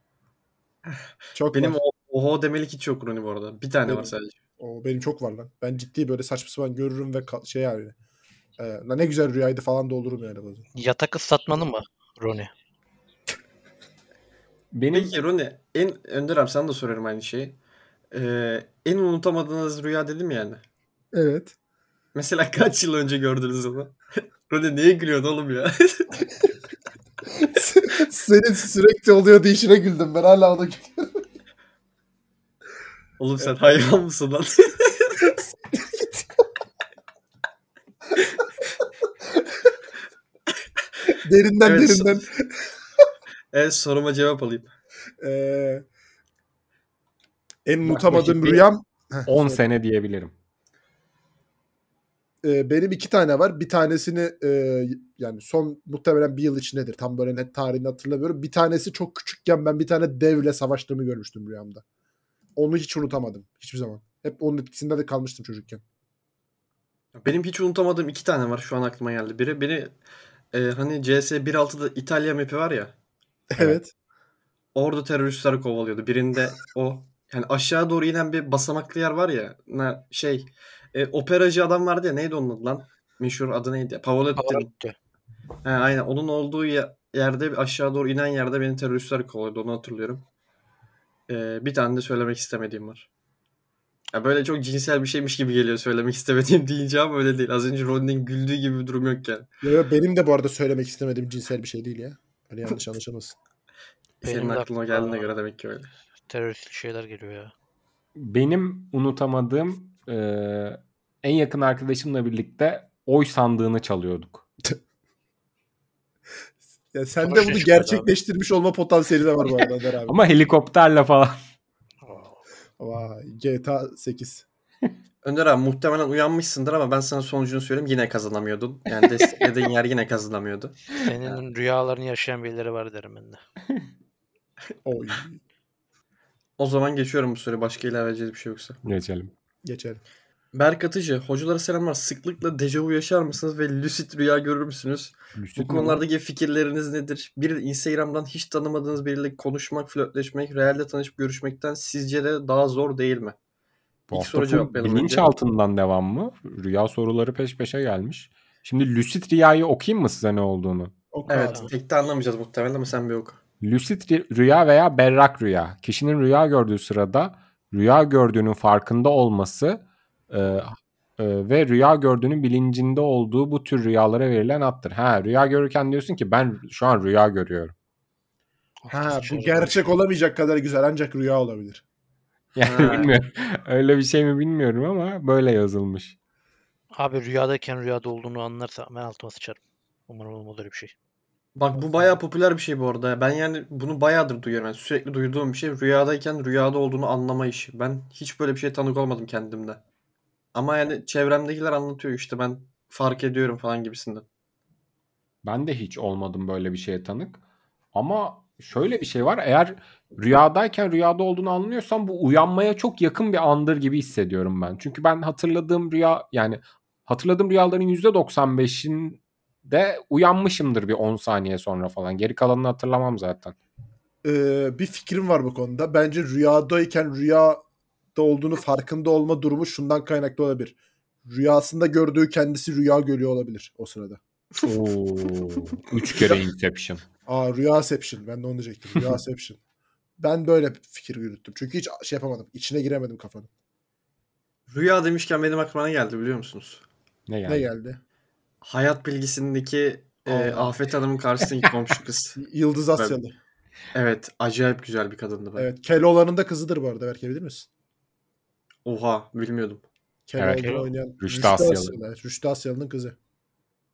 C: Çok
B: Benim
C: benim
B: o, oho demelik hiç yok Roni bu arada. Bir tane var
C: Benim-
B: sadece.
C: o benim çok var lan. Ben ciddi böyle saçma sapan görürüm ve ka- şey yani. E, lan ne güzel rüyaydı falan da olurum yani bazen.
E: Yatak ıslatmalı mı Roni?
D: Benim
B: Peki Roni en Önder abi sana da soruyorum aynı şeyi. Ee, en unutamadığınız rüya dedim yani.
C: Evet.
B: Mesela kaç yıl önce gördünüz onu? Roni niye gülüyorsun oğlum ya?
C: Senin sürekli oluyor işine güldüm. Ben hala ona
B: oğlum sen hayvan mısın lan?
C: Derinden
B: Evet,
C: derinden.
B: evet E, soruma cevap alayım.
C: Ee, en
D: Yaklaşık
C: unutamadığım
D: bir-
C: rüyam
D: 10 sene diyebilirim.
C: e, benim iki tane var. Bir tanesini e, yani son muhtemelen bir yıl içindedir. Tam böyle net tarihini hatırlamıyorum. Bir tanesi çok küçükken ben bir tane devle savaştığımı görmüştüm rüyamda. Onu hiç unutamadım. Hiçbir zaman. Hep onun etkisinde de kalmıştım çocukken.
B: Benim hiç unutamadığım iki tane var şu an aklıma geldi. Biri beni e, hani CS 1.6'da İtalya map'i var ya.
C: Evet.
B: Orada teröristler kovalıyordu. Birinde o yani aşağı doğru inen bir basamaklı yer var ya. na- şey e, operacı adam vardı ya neydi onun adı lan? Meşhur adı neydi? ya? Pavarotti.
E: Pavarotti.
B: He, aynen onun olduğu ye- yerde aşağı doğru inen yerde beni teröristler kovalıyordu onu hatırlıyorum. E, bir tane de söylemek istemediğim var. Ya böyle çok cinsel bir şeymiş gibi geliyor söylemek istemediğim deyince ama öyle değil. Az önce Ronnie'nin güldüğü gibi bir durum yok yani.
C: Ya, ya benim de bu arada söylemek istemediğim cinsel bir şey değil ya. Hani yanlış anlaşılmasın.
E: Benim
B: Senin
E: de
B: aklına
E: aklıma-
B: geldiğine göre demek ki öyle.
E: Teröristlik şeyler geliyor ya.
D: Benim unutamadığım e, en yakın arkadaşımla birlikte oy sandığını çalıyorduk.
C: Ya sende
E: Sonuç ne
C: bunu
E: çıkıyor abi?
C: gerçekleştirmiş olma potansiyeli de var bu arada Önder abi.
D: Ama helikopterle falan.
C: Vay, GTA 8.
B: Önder abi muhtemelen uyanmışsındır ama ben sana sonucunu söyleyeyim yine kazanamıyordun. Yani desteklediğin yer yine kazanamıyordu.
E: Senin rüyalarını yaşayan birileri var derim ben de.
C: Oy.
B: O zaman geçiyorum bu soruyu başka ilave edeceğiz bir şey yoksa.
D: Geçelim.
C: Geçelim.
B: Berk Atıcı, hocalara selamlar. Sıklıkla dejavu yaşar mısınız ve lucid rüya görür müsünüz? Bu konulardaki fikirleriniz nedir? Bir, Instagram'dan hiç tanımadığınız biriyle konuşmak, flörtleşmek, realde tanışıp görüşmekten sizce de daha zor değil mi?
D: Bu
B: İlk
D: hafta
B: soru
D: full
B: cevaplayalım önce.
D: Bilinçaltından devam mı? Rüya soruları peş peşe gelmiş. Şimdi lucid rüyayı okuyayım mı size ne olduğunu?
C: Ok abi.
B: Evet, tek de anlamayacağız muhtemelen ama sen bir oku.
D: Lucid rü- rüya veya berrak rüya. Kişinin rüya gördüğü sırada rüya gördüğünün farkında olması e, e, ve rüya gördüğünün bilincinde olduğu bu tür rüyalara verilen addır. Ha rüya görürken diyorsun ki ben şu an rüya görüyorum.
C: Ha bu
E: Dışarı
C: gerçek olamayacak kadar güzel ancak rüya olabilir.
D: Yani
B: Ha.
D: bilmiyorum. Öyle bir şey mi bilmiyorum ama böyle yazılmış.
E: Abi rüyadayken rüyada olduğunu anlarsa ben altıma sıçarım. Umarım olmaz öyle bir şey.
B: Bak bu bayağı popüler bir şey bu arada. Ben yani bunu bayağıdır duyuyorum. Yani sürekli duyduğum bir şey rüyadayken rüyada olduğunu anlama işi. Ben hiç böyle bir şeye tanık olmadım kendimde. Ama yani çevremdekiler anlatıyor işte ben fark ediyorum falan gibisinden.
D: Ben de hiç olmadım böyle bir şeye tanık. Ama şöyle bir şey var. Eğer rüyadayken rüyada olduğunu anlıyorsam bu uyanmaya çok yakın bir andır gibi hissediyorum ben. Çünkü ben hatırladığım rüya yani hatırladığım rüyaların %95'inde uyanmışımdır bir 10 saniye sonra falan. Geri kalanını hatırlamam zaten.
C: Ee, bir fikrim var bu konuda. Bence rüyadayken rüyada olduğunu farkında olma durumu şundan kaynaklı olabilir. Rüyasında gördüğü kendisi rüya görüyor olabilir o sırada.
D: Oo, 3 kere Inception.
C: Aa rüyaception. Ben de onu diyecektim. Rüyaception. ben böyle bir fikir yürüttüm. Çünkü hiç şey yapamadım. İçine giremedim kafanın.
B: Rüya demişken benim aklıma ne geldi biliyor musunuz?
D: Ne yani?
C: Ne geldi?
B: Hayat bilgisindeki e,
C: Allah.
B: Afet Hanım'ın karşısındaki komşu kız.
C: Yıldız Asyalı.
B: Evet acayip güzel bir kadındı ben.
C: Evet. Keloğlan'ın da kızıdır bu arada. Belki bilir misin?
B: Oha bilmiyordum.
C: Keloğlan'ı
E: Kelo-
C: oynayan
D: Rüştü Asyalı.
C: evet. Rüştü Asyalı'nın kızı.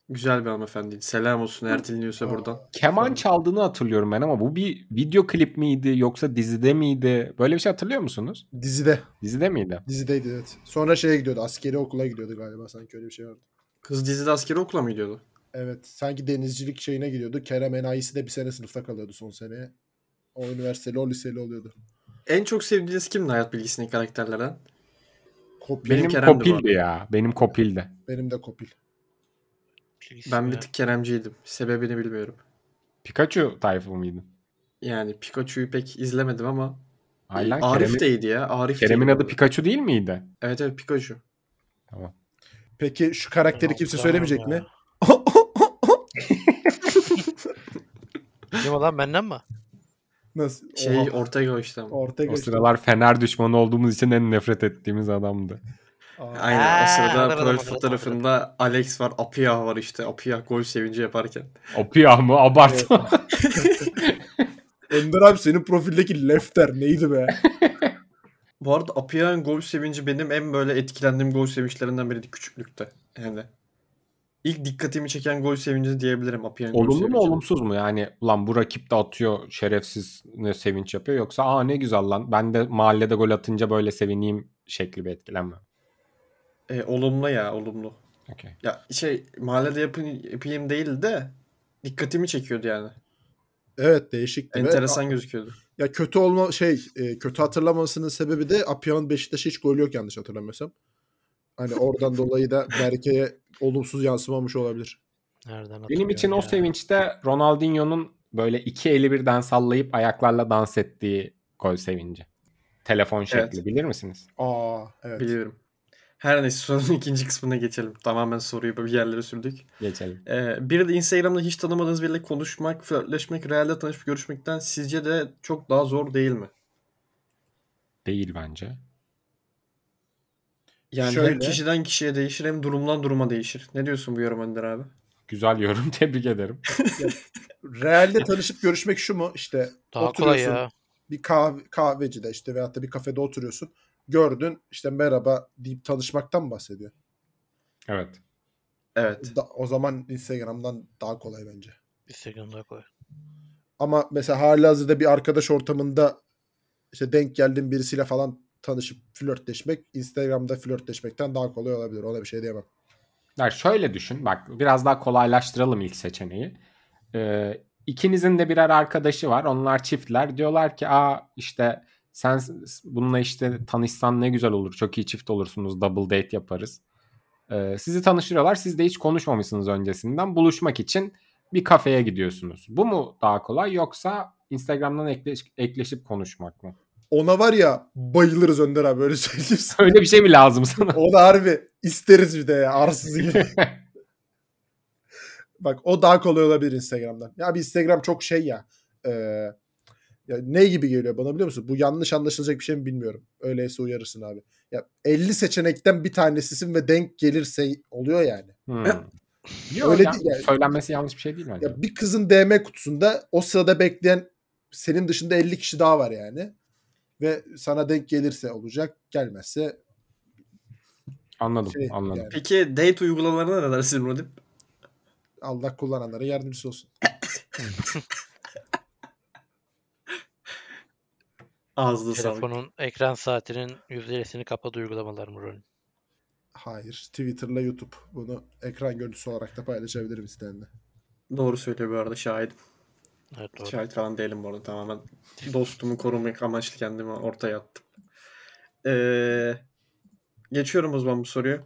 B: Güzel bir hanımefendi. Selam olsun eğer dinliyorsa
C: Aa.
B: buradan.
D: Keman çaldığını hatırlıyorum ben ama bu bir video klip miydi yoksa dizide miydi? Böyle bir şey hatırlıyor musunuz?
C: Dizide.
D: Dizide miydi?
C: Dizideydi evet. Sonra şeye gidiyordu. Askeri okula gidiyordu galiba. Sanki öyle bir şey vardı.
B: Kız dizide askeri okula mı gidiyordu?
C: Evet. Sanki denizcilik şeyine gidiyordu. Kerem Enayisi de bir sene sınıfta kalıyordu son sene. O üniversiteli, o liseli oluyordu.
B: En çok sevdiğiniz kimdi hayat bilgisindeki karakterlerden?
C: Kopil.
B: Benim
D: Benim,
B: Kerem'di bu
D: Kopil'di
B: arada.
D: ya. Benim Kopil'di.
C: Benim de Kopil.
B: Ben bir
E: Ya.
B: tık Keremciydim. Sebebini bilmiyorum.
D: Pikachu tayfı mıydı?
B: Yani Pikachu'yu pek izlemedim ama
D: Hayır lan
B: Arif
D: Kerem'in,
B: deydi ya. Arif
D: Kerem'in
B: deydi
D: adı
B: bu.
D: Pikachu değil miydi?
B: Evet evet Pikachu.
C: Peki şu karakteri kimse söylemeyecek mi?
E: Kim o lan benden mi?
C: Nasıl?
B: Şey
C: Oha.
B: Ortega işte ama.
C: Ortega
D: O
C: işte.
D: sıralar Fener düşmanı olduğumuz için en nefret ettiğimiz adamdı.
C: Aa,
B: Aynen o
E: Ha,
B: sırada
E: hatırladım,
B: profil
E: hatırladım,
B: fotoğrafında Alex var, Apia var işte. Apia gol sevinci yaparken.
D: Opia mı? Abartma.
C: Önder abi senin profildeki lefter neydi be?
B: Bu arada Apia'nın gol sevinci benim en böyle etkilendiğim gol sevinçlerinden biriydi küçüklükte. Yani ilk dikkatimi çeken gol sevinci diyebilirim Apia'nın gol
D: Olumlu mu
B: sevinci.
D: olumsuz mu? Yani ulan bu rakip de atıyor şerefsiz ne sevinç yapıyor yoksa aa ne güzel lan ben de mahallede gol atınca böyle sevineyim şekli bir etkilenme.
B: E, olumlu ya olumlu.
D: Okey.
B: Ya şey mahallede yapın, yapayım değil de dikkatimi çekiyordu yani.
C: Evet değişikti. ve-
B: Enteresan gözüküyordu.
C: Ya kötü olma şey e, kötü hatırlamasının sebebi de Apia'nın Beşiktaş'a hiç golü yok yanlış hatırlamıyorsam. Hani oradan dolayı da Berke'ye olumsuz yansımamış olabilir.
E: Nereden
D: Benim için
E: hatırlıyorum
D: o
E: ya?
D: sevinçte Ronaldinho'nun böyle iki eli birden sallayıp ayaklarla dans ettiği gol sevinci. Telefon şekli
B: Evet.
D: bilir misiniz?
C: Aa evet.
B: Biliyorum. Her neyse sorunun ikinci kısmına geçelim. Tamamen soruyu bir yerlere sürdük.
D: Geçelim.
B: Ee, bir de Instagram'da hiç tanımadığınız biriyle konuşmak, flörtleşmek, realde tanışıp görüşmekten sizce de çok daha zor değil mi?
D: Değil bence.
B: Yani
C: Şöyle.
B: hem kişiden kişiye değişir hem durumdan duruma değişir. Ne diyorsun bu yorum Önder abi?
D: Güzel yorum tebrik ederim.
C: Real'de tanışıp görüşmek şu mu? İşte
E: Daha kolay
C: oturuyorsun
E: ya.
C: bir kahve, kahvecide işte veyahut da bir kafede oturuyorsun. Gördün işte merhaba deyip tanışmaktan bahsediyor.
D: Evet.
B: Evet.
C: Da- o zaman Instagram'dan daha kolay bence.
E: Instagram'da kolay.
C: Ama mesela halihazırda bir arkadaş ortamında işte denk geldiğin birisiyle falan tanışıp flörtleşmek Instagram'da flörtleşmekten daha kolay olabilir. Ona bir şey diyemem.
D: Ya şöyle düşün bak biraz daha kolaylaştıralım ilk seçeneği. Ee, ikinizin de birer arkadaşı var. Onlar çiftler. Diyorlar ki aa işte sen s- bununla işte tanışsan ne güzel olur. Çok iyi çift olursunuz. Double date yaparız. Ee, sizi tanıştırıyorlar. Siz de hiç konuşmamışsınız öncesinden. Buluşmak için bir kafeye gidiyorsunuz. Bu mu daha kolay yoksa Instagram'dan ekleş- ekleşip konuşmak mı?
C: Ona var ya bayılırız Önder abi öyle söyleyeyim sana.
D: Öyle bir şey mi lazım sana?
C: Ona harbi isteriz bir de ya arsız gibi. Bak o daha kolay olabilir Instagram'dan. Ya bir Instagram çok şey ya. e, ya ne gibi geliyor bana biliyor musun? Bu yanlış anlaşılacak bir şey mi bilmiyorum. Öyleyse uyarırsın abi. Ya 50 seçenekten bir tanesisin ve denk gelirse oluyor yani.
D: Hmm.
C: Öyle
D: Yok ya,
C: değil yani.
D: Söylenmesi yanlış bir şey değil bence.
C: Ya bir kızın DM kutusunda o sırada bekleyen senin dışında 50 kişi daha var yani. Ve sana denk gelirse olacak, gelmezse
D: Anladım,
C: şey
D: anladım.
C: yani
B: Peki date uygulamalarına ne dersin Rodim?
C: Allah kullananlara yardımcısı olsun.
B: Ağzına sağlık.
E: Telefonun ekran saatinin %50'sini kapadı uygulamalar mı rolün?
C: Hayır, Twitter'la YouTube bunu ekran görüntüsü olarak da paylaşabilirim isteyenle.
B: Doğru söylüyor bu arada şahit.
E: Evet doğru.
B: Şahit falan değilim bu arada tamamen. Dostumu korumak amaçlı kendimi ortaya attım. Ee, geçiyorum o zaman bu soruyu.
C: Ee,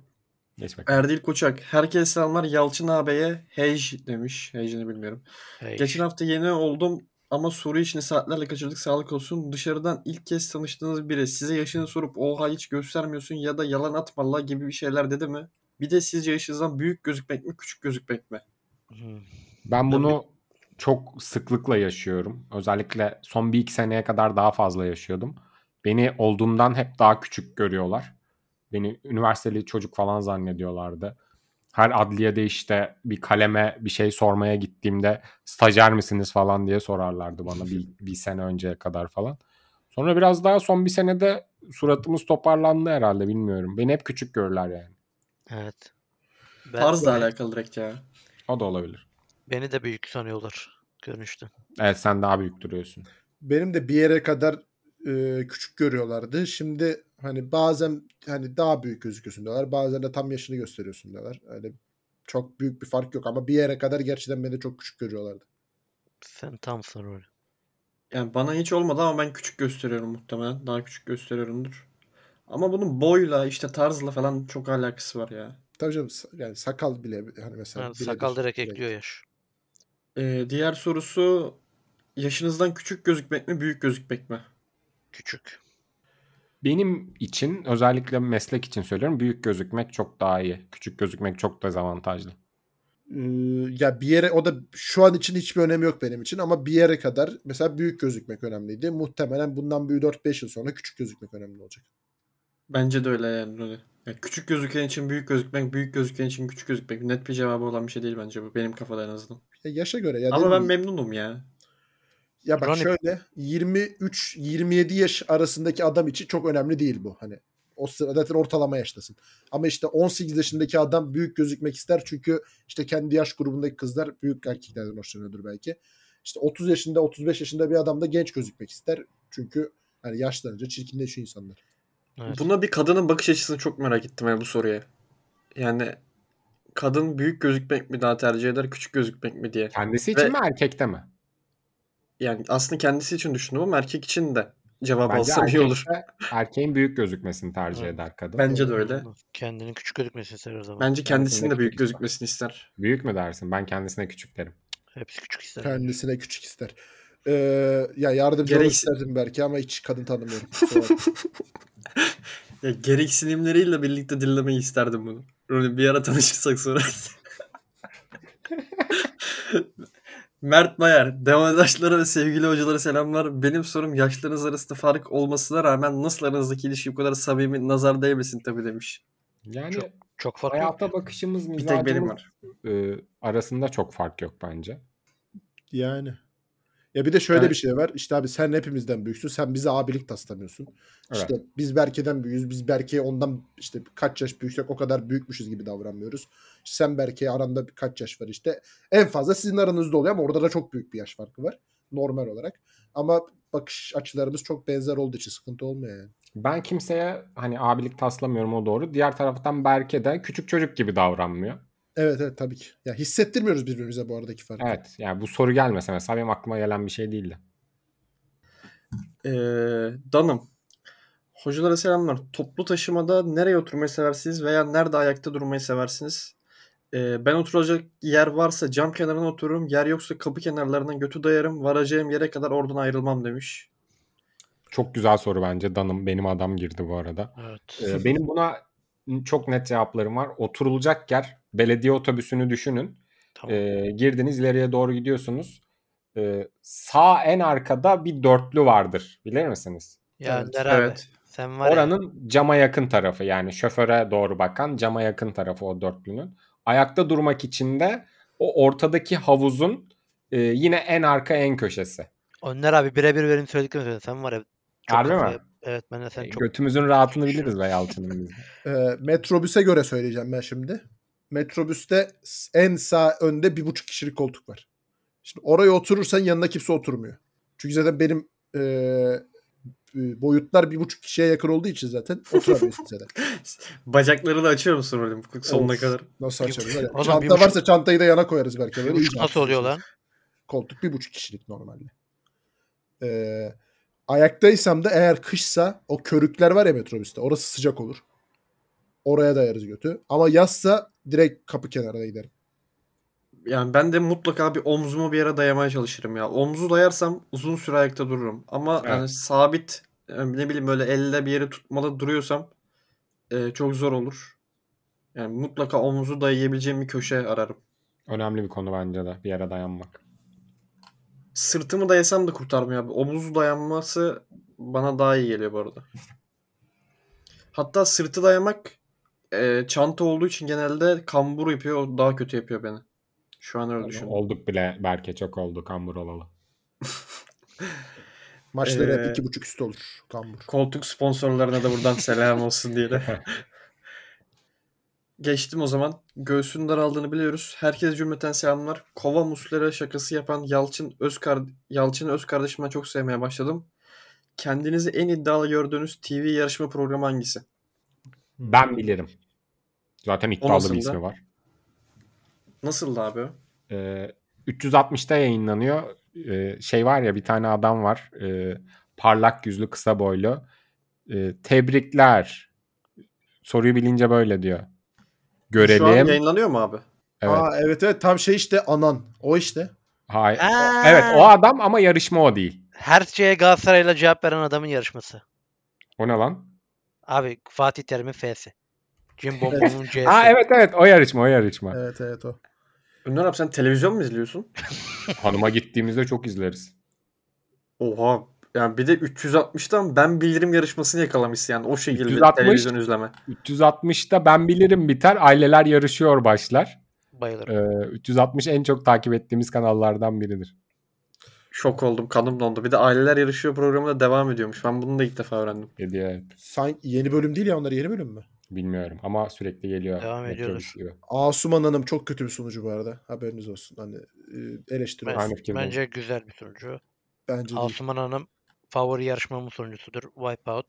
D: Geç bakalım.
B: Erdil Koçak. Herkese selamlar. Yalçın ağabeye hej demiş. Hejini bilmiyorum.
E: Hey.
B: Geçen hafta yeni oldum ama soru işini saatlerle kaçırdık sağlık olsun. Dışarıdan ilk kez tanıştığınız biri size yaşını sorup oha hiç göstermiyorsun ya da yalan atma la gibi bir şeyler dedi mi? Bir de sizce yaşınızdan büyük gözükmek mi küçük gözükmek mi?
E: Hmm.
D: Ben bunu çok sıklıkla yaşıyorum. Özellikle son bir iki seneye kadar daha fazla yaşıyordum. Beni olduğumdan hep daha küçük görüyorlar. Beni üniversiteli çocuk falan zannediyorlardı. her adliyede işte bir kaleme bir şey sormaya gittiğimde stajyer misiniz falan diye sorarlardı bana bir, bir sene önceye kadar falan. Sonra biraz daha son bir senede suratımız toparlandı herhalde bilmiyorum. Beni hep küçük görürler yani.
E: Evet. Ben-
B: Tarzla
E: beni-
B: alakalı direkt ya.
D: O da olabilir.
E: Beni de büyük sanıyorlar. Görünüşte.
D: Evet sen daha büyük duruyorsun.
C: benim de bir yere kadar e, küçük görüyorlardı. Şimdi hani bazen hani daha büyük gözüküyorsun diyorlar. Bazen de tam yaşını gösteriyorsun diyorlar. Hani çok büyük bir fark yok ama bir yere kadar gerçekten beni çok küçük görüyorlardı.
E: Sen tamsın öyle.
B: Yani bana hiç olmadı ama ben küçük gösteriyorum muhtemelen. Daha küçük gösteriyorumdur. Ama bunun boyla işte tarzla falan çok alakası var ya.
C: Tabii canım sa- yani sakal bile hani mesela
E: Yani
C: biledir.
E: sakal direkt
C: Biledir.
E: ekliyor yaş.
B: Ee, diğer sorusu yaşınızdan küçük gözükmek mi büyük gözükmek mi?
E: Küçük.
D: Benim için özellikle meslek için söylüyorum büyük gözükmek çok daha iyi. Küçük gözükmek çok dezavantajlı.
C: Ee, ya bir yere o da şu an için hiçbir önemi yok benim için ama bir yere kadar mesela büyük gözükmek önemliydi. Muhtemelen bundan bir 4-5 yıl sonra küçük gözükmek önemli olacak.
B: Bence de öyle yani. Öyle. Yani küçük gözüken için büyük gözükmek, büyük gözüken için küçük gözükmek. Net bir cevabı olan bir şey değil bence bu. Benim kafada en azından.
C: Ya yaşa göre ya
B: Ama
C: dedim
B: ben
C: ya.
B: memnunum ya.
C: Ya bak
E: Ronnie-
C: şöyle 23 27 yaş arasındaki adam için çok önemli değil bu. Hani o sırada zaten ortalama yaştasın. Ama işte 18 yaşındaki adam büyük gözükmek ister çünkü işte kendi yaş grubundaki kızlar büyük erkeklerden hoşlanıyordur belki. İşte 30 yaşında 35 yaşında bir adam da genç gözükmek ister. Çünkü hani yaşlanınca çirkinleşiyor insanlar.
E: Evet.
B: Buna bir kadının bakış açısını çok merak ettim yani bu soruya. Yani kadın büyük gözükmek mi daha tercih eder, küçük gözükmek mi diye.
D: Kendisi için
B: Ve-
D: mi erkekte mi?
B: Yani aslında kendisi için düşündüm ama erkek için de cevap
D: Bence
B: alsam iyi olur.
D: erkekte erkeğin büyük gözükmesini tercih
E: Evet.
D: eder kadın.
B: Bence de öyle.
E: Kendini küçük gözükmesin ister her zaman.
B: Bence kendisinin de büyük
D: küçük ister.
B: gözükmesini ister.
D: Büyük mü dersin? Ben kendisine küçük derim.
E: Hepsi küçük ister.
C: Kendisine küçük ister. Ee, ya yardımcı olmak
B: Gereksiz-
C: isterdim belki ama hiç kadın tanımıyorum. Kusura bakma.
B: Ya gereksinimleriyle birlikte dinlemeyi isterdim bunu. Roni bir ara tanışırsak sonra. Mert Mayer, demodaşlara ve sevgili hocalara selamlar. Benim sorum yaşlarınız arasında fark olmasına rağmen nasıl aranızdaki ilişki bu kadar samimi nazar değmesin tabii demiş.
D: Yani
E: Çok farklı. yok.
D: hayata bakışımız,
B: Bir tek benim
D: mizacımız
B: var.
D: e, arasında çok fark yok bence.
C: Yani. Ya bir de şöyle
B: Yani-
C: bir şey var. İşte abi sen hepimizden büyüksün. Sen bize abilik taslamıyorsun.
D: Evet.
C: İşte biz Berke'den büyüğüz. Biz Berke'ye ondan işte kaç yaş büyüksek o kadar büyükmüşüz gibi davranmıyoruz. İşte sen Berke'ye aranda kaç yaş var işte. En fazla sizin aranızda oluyor ama orada da çok büyük bir yaş farkı var. Normal olarak. Ama bakış açılarımız çok benzer olduğu için sıkıntı olmuyor yani.
D: Ben kimseye hani abilik taslamıyorum o doğru. Diğer taraftan Berke de küçük çocuk gibi davranmıyor.
C: Evet evet tabii ki. Ya hissettirmiyoruz birbirimize bu aradaki farkı.
D: Evet yani bu soru gelmese mesela benim aklıma gelen bir şey değildi.
B: Ee, Danım. Hocalara selamlar. Toplu taşımada nereye oturmayı seversiniz veya nerede ayakta durmayı seversiniz? Ee, ben oturacak yer varsa cam kenarına otururum. Yer yoksa kapı kenarlarından götü dayarım. Varacağım yere kadar oradan ayrılmam demiş.
D: Çok güzel soru bence. Danım benim adam girdi bu arada.
E: Evet.
D: Ee, benim buna çok net cevaplarım var. Oturulacak yer belediye otobüsünü düşünün.
E: Tamam.
D: Ee, girdiniz ileriye doğru gidiyorsunuz. Ee, sağ en arkada bir dörtlü vardır. Bilir misiniz?
E: ya
C: evet,
E: Önder abi.
B: evet.
E: Sen var ya.
D: Oranın cama yakın tarafı yani şoföre doğru bakan cama yakın tarafı o dörtlünün. Ayakta durmak için de o ortadaki havuzun e, yine en arka en köşesi.
E: Önder abi birebir benim söylediklerimi söyledi. Sen var ya. Çok
D: Harbi mi?
E: kafaya- Evet ben de sen
D: E,
E: çok.
D: Götümüzün rahatını
E: çok
D: biliriz be Yalçın'ın biz.
C: Ee, metrobüse göre söyleyeceğim ben şimdi. Metrobüste s- en sağ önde bir buçuk kişilik koltuk var. Şimdi oraya oturursan yanına kimse oturmuyor. Çünkü zaten benim e, e, boyutlar bir buçuk kişiye yakın olduğu için zaten oturamıyorsun zaten.
B: Bacakları da açıyor musun oğlum sonuna
C: Of.
B: kadar?
C: Nasıl
E: Bir
C: açarız?
E: buçuk-
C: Yani
E: Oğlum
C: çanta
E: bir buçuk-
C: varsa çantayı da yana koyarız belki. Böyle
E: Üç
C: iyice
E: nasıl oluyor lan?
C: Koltuk bir buçuk kişilik normalde. Ee, ayaktaysam da eğer kışsa o körükler var ya metrobüste orası sıcak olur. Oraya dayarız götü. Ama yazsa direkt kapı kenarına giderim.
B: Yani ben de mutlaka bir omzumu bir yere dayamaya çalışırım ya. Omzu dayarsam uzun süre ayakta dururum. Ama
D: Evet.
B: yani sabit e, ne bileyim böyle elle bir yere tutmalı duruyorsam e, çok zor olur. Yani mutlaka omuzu dayayabileceğim bir köşe ararım.
D: Önemli bir konu bence de bir yere dayanmak.
B: Sırtımı dayasam da kurtarmıyor abi. Omuzu dayanması bana daha iyi geliyor bu arada. Hatta sırtı dayamak e, çanta olduğu için genelde kambur yapıyor. O daha kötü yapıyor beni. Şu an öyle düşünüyorum.
D: Olduk bile belki çok oldu kambur olalı.
C: Maçları
B: Ee,
C: hep iki buçuk üstü olur. Kambur.
B: Koltuk sponsorlarına da buradan selam olsun diye de. Geçtim o zaman. Göğsünün daraldığını biliyoruz. Herkese cümleten selamlar. Kova Muslera şakası yapan Yalçın Özkar Yalçın Öz kardeşime çok sevmeye başladım. Kendinizi en iddialı gördüğünüz TV yarışma programı hangisi?
D: Ben bilirim. Zaten iddialı
B: nasıl
D: bir
B: da?
D: ismi var.
B: Nasıldı abi? o?
D: Ee, 360'ta yayınlanıyor. Ee, şey var ya bir tane adam var. Ee, parlak yüzlü kısa boylu. Ee, tebrikler. Soruyu bilince böyle diyor.
B: Şu an
D: Görelim.
B: yayınlanıyor mu abi?
D: Evet.
C: Aa, evet evet tam şey işte anan. O işte.
D: Hayır.
E: Aa!
D: Evet E, o adam ama yarışma o değil.
E: Her şeye Galatasaray'la cevap veren adamın yarışması.
D: O ne lan?
E: Abi Fatih Terim'in F'si. Jim Bombom'un C'si.
D: Aa evet evet o yarışma o yarışma.
C: Evet evet o.
B: Önder abi sen televizyon mu izliyorsun?
D: Hanıma gittiğimizde çok izleriz.
B: Oha. Yani bir de 360'tan ben bilirim yarışmasını yakalamışsın yani o şekilde
D: 360?
B: televizyon izleme.
D: 360'ta ben bilirim biter. Aileler yarışıyor başlar. Ee,
E: Bayılırım.
D: 360 en çok takip ettiğimiz kanallardan biridir.
B: Şok oldum kanım dondu. Bir de aileler yarışıyor programı da devam ediyormuş. Ben bunu da ilk defa öğrendim.
D: Hediye evet.
C: Sanki yeni bölüm değil ya onlar yeni bölüm mü?
D: Bilmiyorum ama sürekli geliyor.
E: Devam
D: Bekliyoruz
E: ediyoruz.
D: gibi.
C: Asuman Hanım çok kötü bir sunucu bu arada. Haberiniz olsun. Hani e, eleştiri
E: Ben-
D: aynı fikirdeyim.
E: bence güzel bir sunucu.
C: bence değil.
E: Asuman Hanım favori yarışmamın sunucusudur. Wipeout.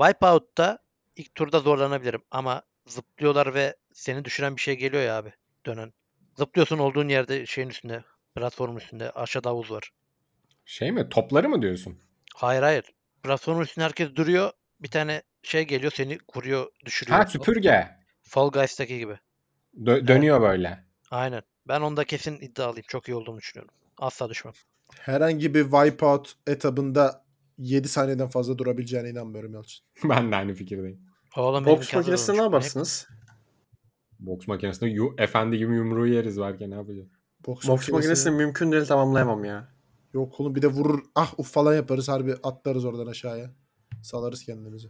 E: Wipeout'ta ilk turda zorlanabilirim ama zıplıyorlar ve seni düşüren bir şey geliyor ya abi dönen. Zıplıyorsun olduğun yerde şeyin üstünde platformun üstünde aşağıda havuz var.
D: Şey mi? Topları mı diyorsun?
E: Hayır hayır. Platformun üstünde herkes duruyor. Bir tane şey geliyor seni kuruyor düşürüyor.
D: Ha süpürge.
E: Fall Guys'taki gibi.
D: Dö- dönüyor böyle.
E: Aynen. Ben onda kesin iddialıyım. Çok iyi olduğumu düşünüyorum. Asla düşmem.
C: Herhangi bir wipeout etabında 7 saniyeden fazla durabileceğine inanmıyorum Yalçın.
D: ben de aynı fikirdeyim.
E: Oğlum benim
B: Boks
E: imkansız
B: makinesine ne
E: olmuş.
B: yaparsınız?
D: Boks makinesinde yu- efendi gibi yumruğu yeriz belki ne yapacağız?
C: Boks,
B: Boks makinesini mümkün değil tamamlayamam ya.
C: Yok oğlum bir de vurur ah uf falan yaparız harbi atlarız oradan aşağıya. Salarız kendimizi.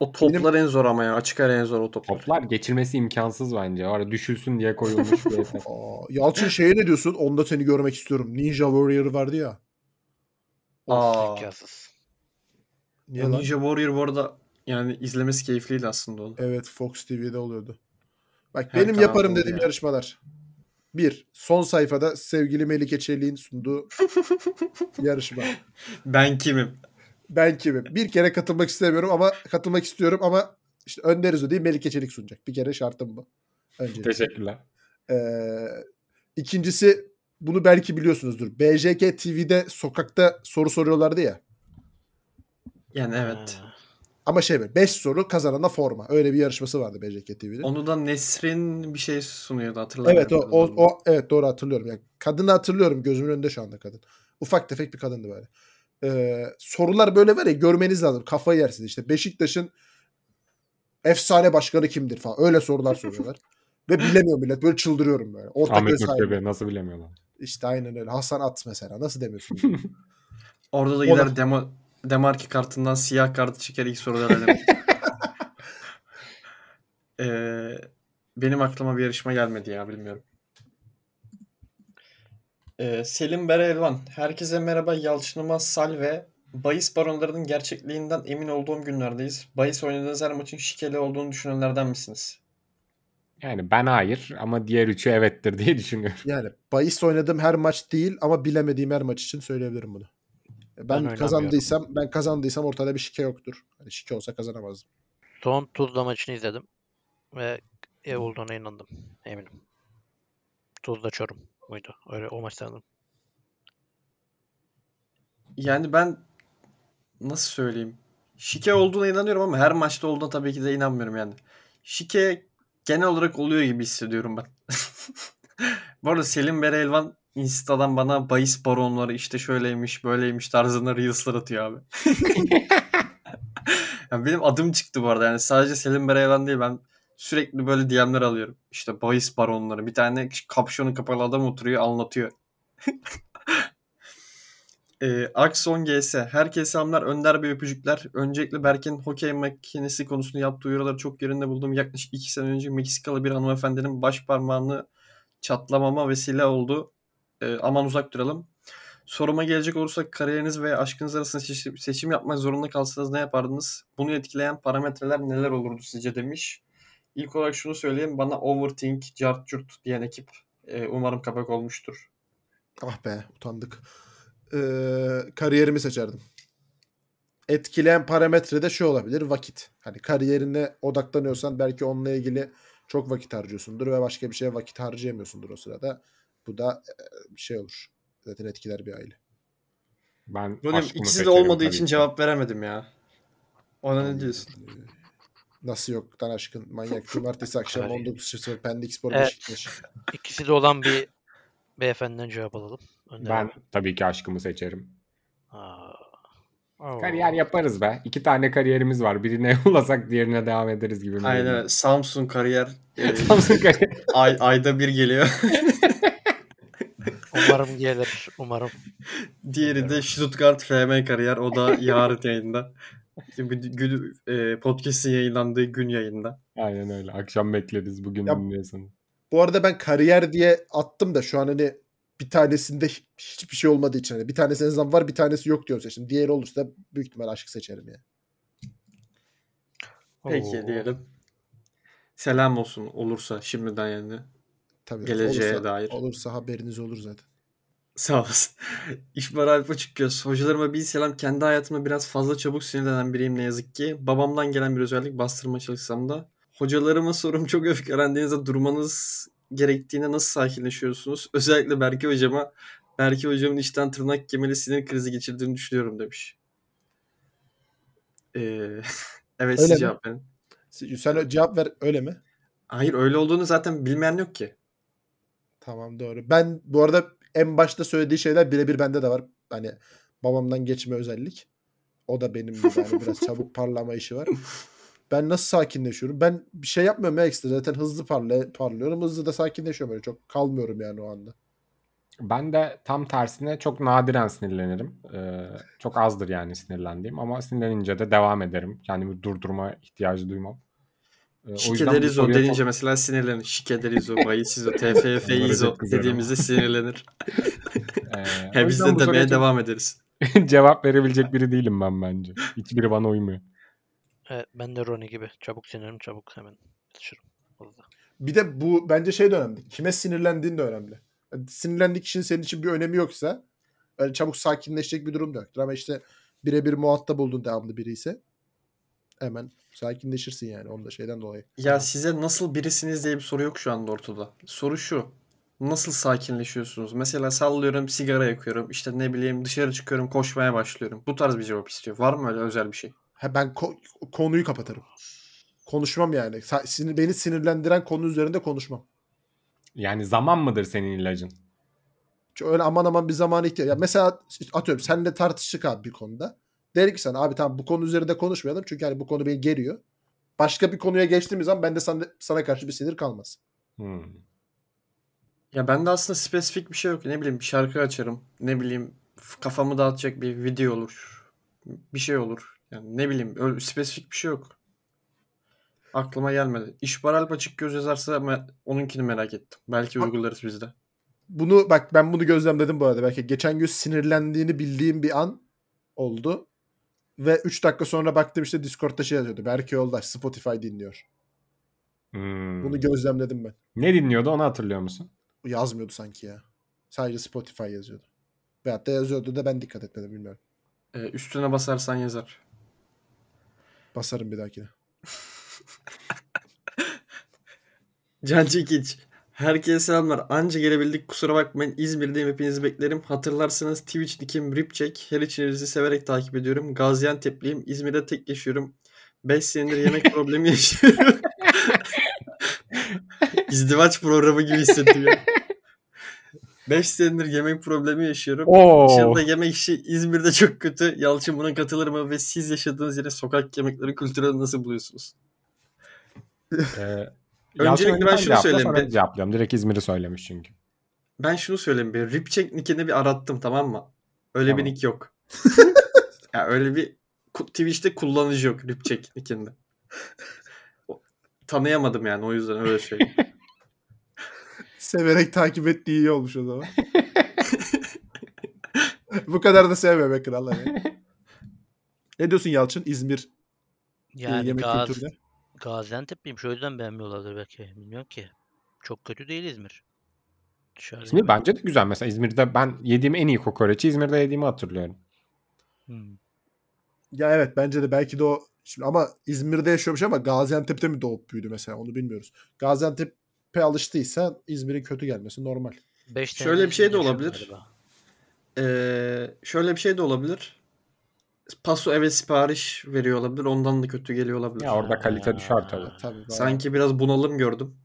B: O toplar en zor ama ya. Açık ara en zor o toplar.
D: Toplar geçirmesi imkansız bence. O ara düşülsün diye koyulmuş bir efekt.
C: Aa, Yalçın şeye ne diyorsun? Onda seni görmek istiyorum. Ninja Warrior vardı ya.
B: Aa,
E: İmkansız.
C: Niye lan?
B: Ninja Warrior bu arada yani izlemesi keyifliydi aslında onu.
C: Evet Fox TV'de oluyordu. Bak
B: Her
C: benim
B: kanalda
C: yaparım
B: oluyor
C: dediğim
B: ya.
C: yarışmalar. Bir, son sayfada sevgili Melike Çelik'in sunduğu yarışma.
B: Ben kimim?
C: Ben kimim? Bir kere katılmak istemiyorum ama katılmak istiyorum ama işte Önder Özo değil Melike Çelik sunacak. Bir kere şartım bu. Önce.
D: Teşekkürler.
C: Ee, ikincisi bunu belki biliyorsunuzdur. BJK TV'de sokakta soru soruyorlardı ya.
B: Yani evet.
E: Ha.
C: Ama şey böyle 5 soru kazanana forma. Öyle bir yarışması vardı BJK TV'de.
B: Onu da Nesrin bir şey sunuyordu hatırlamıyorum.
C: Evet o, o,
B: adını.
C: o- evet doğru hatırlıyorum. Yani kadını hatırlıyorum gözümün önünde şu anda kadın. Ufak tefek bir kadındı böyle. Ee, sorular böyle var ya görmeniz lazım. Kafayı yersiniz işte. Beşiktaş'ın efsane başkanı kimdir falan. Öyle sorular soruyorlar. Ve bilemiyor millet. Böyle çıldırıyorum böyle. Ortak
D: Ahmet
C: özel-
D: Nurtepe nasıl bilemiyorlar?
C: İşte aynen öyle. Hasan At mesela. Nasıl demiyorsun?
B: Orada da
C: Ona-
B: gider demo, demarki kartından siyah kartı çeker ilk soruları elemek. Ee, benim aklıma bir yarışma gelmedi ya bilmiyorum. Ee, Selim Bera Elvan. Herkese merhaba Yalçınıma Sal ve Bayis baronlarının gerçekliğinden emin olduğum günlerdeyiz. Bayis oynadığınız her maçın şikeli olduğunu düşünenlerden misiniz?
D: Yani ben hayır ama diğer üçü evettir diye düşünüyorum.
C: yani bahis oynadığım her maç değil ama bilemediğim her maç için söyleyebilirim bunu. Ben,
E: oynamıyorum.
C: kazandıysam ben kazandıysam ortada bir şike yoktur. Hani şike olsa kazanamazdım.
E: Son Tuzla maçını izledim. Ve ev olduğuna inandım. Eminim. Tuzla Çorum muydu? Öyle o maç sanırım.
B: Yani ben nasıl söyleyeyim? Şike olduğuna inanıyorum ama her maçta olduğuna tabii ki de inanmıyorum yani. Şike genel olarak oluyor gibi hissediyorum ben. Bu arada Selim Bere Elvan Insta'dan bana bahis baronları işte şöyleymiş böyleymiş tarzında reelsler atıyor abi. yani benim adım çıktı bu arada yani sadece Selim Bere Elvan değil ben sürekli böyle DM'ler alıyorum. İşte bahis baronları bir tane kapşonu kapalı adam oturuyor anlatıyor. Ee, Akson GS. Herkese selamlar. Önder Bey öpücükler. Öncelikle Berk'in hokey makinesi konusunda yaptığı uyarıları çok yerinde buldum. Yaklaşık 2 sene önce Meksikalı bir hanımefendinin baş parmağını çatlamama vesile oldu. Ee, aman uzak duralım. Soruma gelecek olursak kariyeriniz ve aşkınız arasında seçim, seçim yapmak zorunda kalsanız ne yapardınız? Bunu etkileyen parametreler neler olurdu sizce demiş. İlk olarak şunu söyleyeyim. Bana overthink, cart curt diyen ekip e, umarım kapak olmuştur.
C: Ah be utandık. Ee, kariyerimi seçerdim. Etkileyen parametre de şu olabilir vakit. Hani kariyerine odaklanıyorsan belki onunla ilgili çok vakit harcıyorsundur ve başka bir şeye vakit harcayamıyorsundur o sırada. Bu da e, bir şey olur. Zaten etkiler bir aile.
D: Ben
B: Rolim
D: aşkımı
B: ikisi de
D: seçerim
B: olmadığı
D: tabii
B: için
D: ki.
B: cevap veremedim ya. Ona ne diyorsun?
C: Nasıl yoktan aşkın manyak cumartesi akşam
E: Kariyer.
C: 19.00 Pendik Spor
E: Evet.
C: Beşiktaş.
E: İkisi de olan bir beyefendiden cevap alalım. Önder
D: Ben
E: abi.
D: tabii ki aşkımı seçerim.
E: Aa. Oo.
D: Kariyer yaparız be. İki tane kariyerimiz var. Birine olasak diğerine devam ederiz gibi.
B: Aynen öyle. Samsung kariyer e,
D: Samsung kariyer.
B: ay, ayda bir geliyor.
E: Umarım gelir. Umarım.
B: Diğeri de Stuttgart FM kariyer. O da yarın yayında. Şimdi gün, e, podcast'in yayınlandığı gün yayında.
D: Aynen öyle. Akşam bekleriz. Bugün
C: Yap.
D: dinliyorsun.
C: Bu arada ben kariyer diye attım da şu an hani bir tanesinde hi- hiçbir şey olmadığı için. Hani bir tanesi en azından var bir tanesi yok diyorum seçtim. Diğeri olursa büyük ihtimal aşk seçerim yani.
B: Peki
E: Oo.
B: diyelim. Selam olsun olursa şimdiden yani.
C: Tabii
B: Geleceğe
C: olursa,
B: dair.
C: Olursa haberiniz olur zaten.
B: Sağ olasın. İşbar Alp Açıkgöz. Hocalarıma bir selam. Kendi hayatıma biraz fazla çabuk sinirlenen biriyim ne yazık ki. Babamdan gelen bir özellik bastırma çalışsam da. Hocalarıma sorum çok öfkelendiğinizde durmanız gerektiğine nasıl sakinleşiyorsunuz? Özellikle Berke hocama. Berke hocamın içten tırnak kemeli sinir krizi geçirdiğini düşünüyorum demiş. Ee, evet siz
C: mi?
B: cevap verin.
C: Sen sen cevap ver öyle mi?
B: Hayır öyle olduğunu zaten bilmeyen yok ki.
C: Tamam doğru. Ben bu arada en başta söylediği şeyler birebir bende de var. Hani babamdan geçme özellik. O da benim gibi yani biraz çabuk parlama işi var. Ben nasıl sakinleşiyorum? Ben bir şey yapmıyorum ya ekstra. Zaten hızlı parla parlıyorum. Hızlı da sakinleşiyorum öyle. Çok kalmıyorum yani o anda.
D: Ben de tam tersine çok nadiren sinirlenirim. Ee, çok azdır yani sinirlendiğim. Ama sinirlenince de devam ederim. Kendimi durdurma ihtiyacı duymam. Ee, o yüzden bu
B: Şikederizo
D: soruya çok-
B: denince mesela sinirlenir. Şikederizo, bayisizo, tffizo
D: çok kızıyorum.
B: dediğimizde sinirlenir.
D: Ee, o
B: He biz
D: yüzden
B: de
D: bu
B: demeye
D: soruya çok
B: devam ederiz.
D: cevap verebilecek biri değilim ben bence. Hiçbiri bana uymuyor.
E: Evet, ben de Roni gibi. Çabuk sinirim çabuk hemen yetişirim. Vallahi.
C: Bir de bu bence şey de önemli. Kime sinirlendiğin de önemli. Yani sinirlendiği kişinin senin için bir önemi yoksa öyle çabuk sakinleşecek bir durum da yoktur. Ama işte birebir muhatap olduğun devamlı biri ise hemen sakinleşirsin yani. Onu da şeyden dolayı.
B: Ya size nasıl birisiniz diye bir soru yok şu anda ortada. Soru şu. Nasıl sakinleşiyorsunuz? Mesela sallıyorum sigara yakıyorum. işte ne bileyim dışarı çıkıyorum koşmaya başlıyorum. Bu tarz bir cevap istiyor. Var mı öyle özel bir şey?
C: Ha ben ko- konuyu kapatırım. Konuşmam yani. Sa- sinir, beni sinirlendiren konu üzerinde konuşmam.
D: Yani zaman mıdır senin ilacın?
C: Çünkü öyle aman aman bir zamana ihtiyaç. Ya mesela işte atıyorum senle tartıştık abi bir konuda. Derim ki sana abi tamam bu konu üzerinde konuşmayalım. Çünkü hani bu konu beni geriyor. Başka bir konuya geçtiğimiz zaman bende sana, sana karşı bir sinir kalmaz.
D: Hmm.
B: Ya bende aslında spesifik bir şey yok. Ne bileyim bir şarkı açarım. Ne bileyim f- kafamı dağıtacak bir video olur. Bir şey olur. Yani ne bileyim öyle spesifik bir şey yok. Aklıma gelmedi. İşbar Alp açık göz yazarsa me- onunkini merak ettim. Belki
C: Ha-
B: uygularız biz de.
C: Bunu bak ben bunu gözlemledim bu arada. Belki geçen gün sinirlendiğini bildiğim bir an oldu. Ve 3 dakika sonra baktım işte Discord'da şey yazıyordu. Berke Yoldaş Spotify dinliyor.
D: Hmm.
C: Bunu gözlemledim ben.
D: Ne dinliyordu onu hatırlıyor musun?
C: Yazmıyordu sanki ya. Sadece Spotify yazıyordu. Veyahut da yazıyordu da ben dikkat etmedim bilmiyorum.
B: Ee, üstüne basarsan yazar.
C: Basarım bir dahakine.
B: Can Çekiç. Herkese selamlar. Anca gelebildik. Kusura bakmayın. İzmir'deyim. Hepinizi beklerim. Hatırlarsanız Twitch nikim Ripçek. Her içinizi severek takip ediyorum. Gaziantep'liyim. İzmir'de tek yaşıyorum. 5 senedir yemek problemi yaşıyorum. İzdivaç programı gibi hissediyor. 5 senedir yemek problemi yaşıyorum.
D: Oo.
B: Dışarıda yemek işi İzmir'de çok kötü. Yalçın buna katılır mı? Ve siz yaşadığınız yere sokak yemekleri kültürünü nasıl buluyorsunuz?
D: Ee, Yalçın
B: ben
D: önden
B: şunu
D: cevapla,
B: söyleyeyim.
D: sonra
B: Ben-
D: cevaplayalım. Direkt İzmir'i söylemiş çünkü.
B: Ben şunu söyleyeyim bir. Ripcheck nickini bir arattım tamam mı? Öyle
D: Tamam.
B: bir nick yok. ya öyle bir ku- Twitch'te kullanıcı yok Ripcheck nickinde. O- Tanıyamadım yani o yüzden öyle söyleyeyim.
C: Severek takip ettiği iyi olmuş o zaman. Bu kadar da sevme be kral. hani. ne diyorsun Yalçın? İzmir e,
E: Yani
C: yemek
E: Gaz,
C: kültürüne.
E: Gaziantep'liymiş. O yüzden beğenmiyorlardır belki. Bilmiyorum ki. Çok kötü değil İzmir. Dışarıda
D: İzmir
E: yemek-
D: bence de güzel. Mesela İzmir'de ben yediğim en iyi kokoreçi İzmir'de yediğimi hatırlıyorum.
E: Hmm.
C: Ya evet bence de belki de o şimdi ama İzmir'de yaşıyormuş ama Gaziantep'te mi doğup büyüdü mesela onu bilmiyoruz. Gaziantep'e alıştıysa İzmir'in kötü gelmesi normal.
E: Beş
B: Şöyle
E: senedir
B: bir şey de
E: yaşıyor
B: olabilir.
E: galiba.
B: Ee, şöyle bir şey de olabilir. Paso eve sipariş veriyor olabilir. Ondan da kötü geliyor olabilir.
D: Ya orada kalite
E: Ha.
D: düşer tabii.
C: Tabii. bayağı.
B: Sanki biraz bunalım gördüm.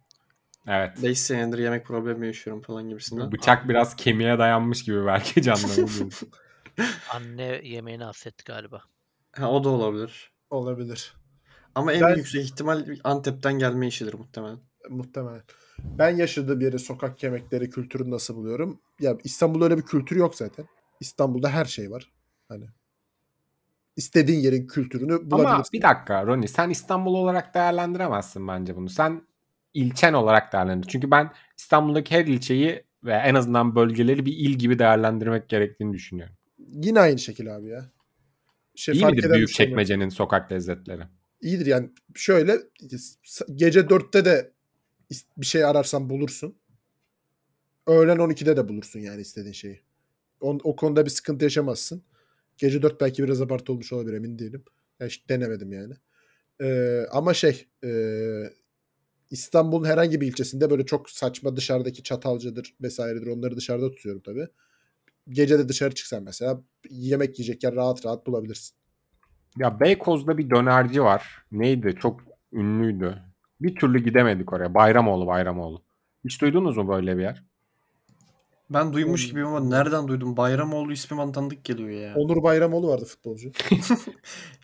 D: Evet.
B: 5 senedir yemek problemi yaşıyorum falan gibisinden.
D: Bıçak biraz kemiğe dayanmış gibi belki canlanıyor.
E: Anne yemeğini hasretti galiba.
B: Ha, o da olabilir.
C: olabilir.
B: Ama en
C: Ben-
B: yüksek ihtimal Antep'ten gelme işidir muhtemelen.
C: Muhtemelen. Ben yaşadığım yeri sokak yemekleri kültürünü nasıl buluyorum? Ya İstanbul'da öyle bir kültür yok zaten. İstanbul'da her şey var. Hani istediğin yerin kültürünü bulabilirsin.
D: Ama bir dakika Roni sen İstanbul olarak değerlendiremezsin bence bunu. Sen ilçen olarak değerlendir. Çünkü ben İstanbul'daki her ilçeyi ve en azından bölgeleri bir il gibi değerlendirmek gerektiğini düşünüyorum.
C: Yine aynı şekil abi ya. Şey
D: İyi
C: fark
D: midir
C: eden bir
D: büyük
C: şey mi?
D: çekmecenin sokak lezzetleri?
C: İyidir yani şöyle s- gece 4'te de is- bir şey ararsan bulursun. Öğlen 12'de de bulursun yani istediğin şeyi. On- o konuda bir sıkıntı yaşamazsın. Gece 4 belki biraz abartı olmuş olabilir emin değilim. Yani hiç denemedim yani. Ee, ama şey ee, İstanbul'un herhangi bir ilçesinde böyle çok saçma dışarıdaki çatalcıdır vesairedir onları dışarıda tutuyorum tabii. Gece de dışarı çıksan mesela yemek yiyecek yer rahat rahat bulabilirsin.
D: Ya Beykoz'da bir dönerci var. Neydi? Çok ünlüydü. Bir türlü gidemedik oraya. Bayramoğlu, Bayramoğlu. Hiç duydunuz mu böyle bir yer?
B: Ben duymuş
C: Oğlum,
B: gibiyim ama nereden duydum? Bayramoğlu ismi bana tanıdık geliyor ya.
C: Onur Bayramoğlu vardı futbolcu.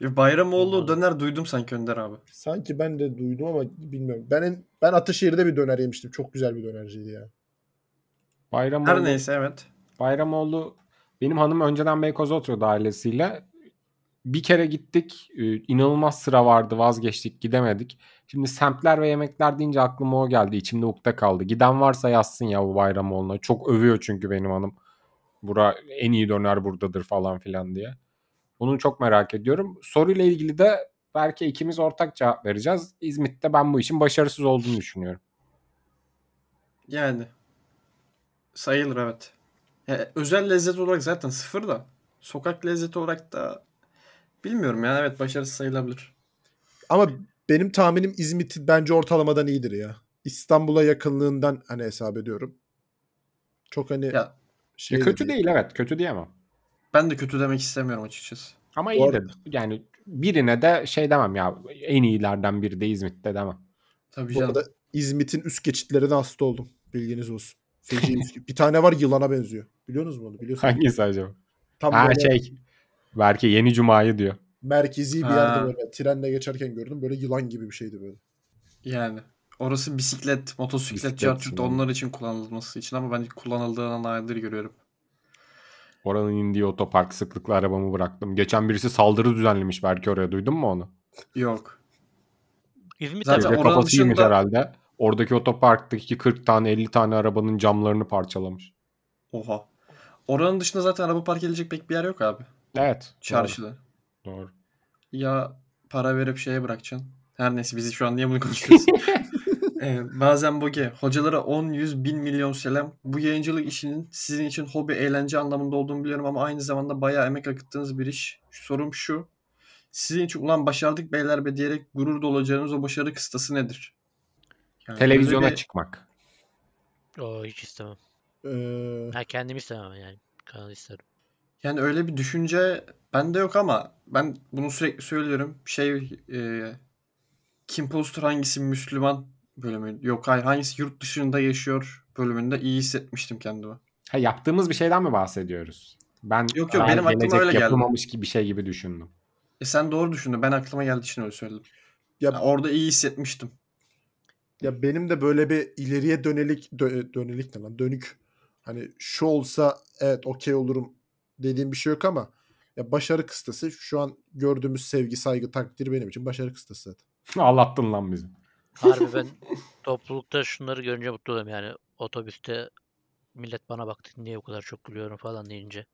B: E, Bayramoğlu
E: Ondan-
B: döner duydum sanki Önder abi.
C: Sanki ben de duydum ama bilmiyorum. Ben en- ben Ataşehir'de bir döner yemiştim. Çok güzel bir dönerciydi ya.
D: Bayramoğlu.
B: Her neyse evet.
D: Bayramoğlu benim hanım önceden Beykoz'da oturuyordu ailesiyle. Bir kere gittik. e, inanılmaz sıra vardı. Vazgeçtik. Gidemedik. Şimdi semtler ve yemekler deyince aklıma o geldi. İçimde ukde kaldı. Giden varsa yazsın ya bu Bayramoğlu'na. Çok övüyor çünkü benim hanım. Bura en iyi döner buradadır falan filan diye. Bunu çok merak ediyorum. Soruyla ilgili de belki ikimiz ortak cevap vereceğiz. İzmit'te ben bu işin başarısız olduğunu düşünüyorum.
B: Yani. Sayılır evet. Ya, özel lezzet olarak zaten sıfır da. Sokak lezzeti olarak da bilmiyorum yani evet başarısız sayılabilir.
C: Ama benim tahminim İzmit bence ortalamadan iyidir ya. İstanbul'a yakınlığından hani hesap ediyorum. Çok hani
B: Ya
D: Ya
C: şey de
D: kötü değil evet kötü diyemem.
B: ben de kötü demek istemiyorum açıkçası.
D: Ama
C: Bu
D: iyi de
C: arada-
D: yani birine de şey demem ya en iyilerden biri de İzmit'te demem.
B: Tabii
C: Bu
B: canım.
C: arada İzmit'in üst geçitlerine hasta oldum. Bilginiz olsun. Feci üst geçit. Bir tane var yılana benziyor. Biliyorsunuz mu onu? Biliyorsunuz.
D: Hangisi acaba?
C: Tam
D: Ha
C: böyle
D: şey belki yeni cumayı diyor.
C: merkezi bir
B: Ha.
C: yerde böyle trenle geçerken gördüm. Böyle yılan gibi bir şeydi böyle.
B: Yani. Orası bisiklet, motosiklet,
D: Bisiklet için,
B: cartürt
D: aynen.
B: onlar için kullanılması için ama ben kullanıldığına nadir görüyorum.
D: Oranın indiği otopark sıklıkla arabamı bıraktım. Geçen birisi saldırı düzenlemiş belki oraya duydun mu onu?
B: Yok.
E: İzmit
B: Zaten
D: Gece
B: oranın
D: kafasıymış
B: dışında-
D: herhalde. Oradaki otoparktaki 40 tane 50 tane arabanın camlarını parçalamış.
B: Oha. Oranın dışında zaten araba park edilecek pek bir yer yok abi.
D: Evet.
B: Çarşıda.
D: Doğru. doğru.
B: Ya para verip şeye bırakacaksın. Her neyse bizi şu an niye bunu konuşuyoruz? ee, bazen Boge. Hocalara 10, 100, 1000 milyon selam. Bu yayıncılık işinin sizin için hobi, eğlence anlamında olduğunu biliyorum ama aynı zamanda bayağı emek akıttığınız bir iş. Sorum şu. Sizin için ulan başardık beyler be diyerek gurur dolacağınız o başarı kıstası nedir? Yani
D: Televizyona
B: böyle bir-
D: çıkmak.
E: O hiç istemem.
C: Ee,
E: Ha kendim istemem yani. Kanalı isterim.
B: Yani öyle bir düşünce bende yok ama ben bunu sürekli söylüyorum. Şey e, Kim Postur hangisi Müslüman bölümü yok hayır hangisi yurt dışında yaşıyor bölümünde iyi hissetmiştim kendimi.
D: Ha, yaptığımız bir şeyden mi bahsediyoruz? Ben
B: Yok, yok,
D: daha
B: benim aklıma
D: gelecek
B: öyle geldi.
D: yapılmamış gibi bir şey gibi düşündüm.
B: E sen doğru düşündün ben aklıma geldiği için öyle söyledim.
C: ya
B: Yani orada iyi hissetmiştim.
C: Ya benim de böyle bir ileriye dönelik dö- dönelik ne lan dönük hani şu olsa evet okey olurum dediğim bir şey yok ama ya başarı kıstası şu an gördüğümüz sevgi, saygı, takdir benim için başarı kıstası zaten.
D: Ağlattın lan bizi.
E: Harbi ben toplulukta şunları görünce mutlu oluyorum yani. Otobüste millet bana baktı niye bu kadar çok gülüyorum falan deyince.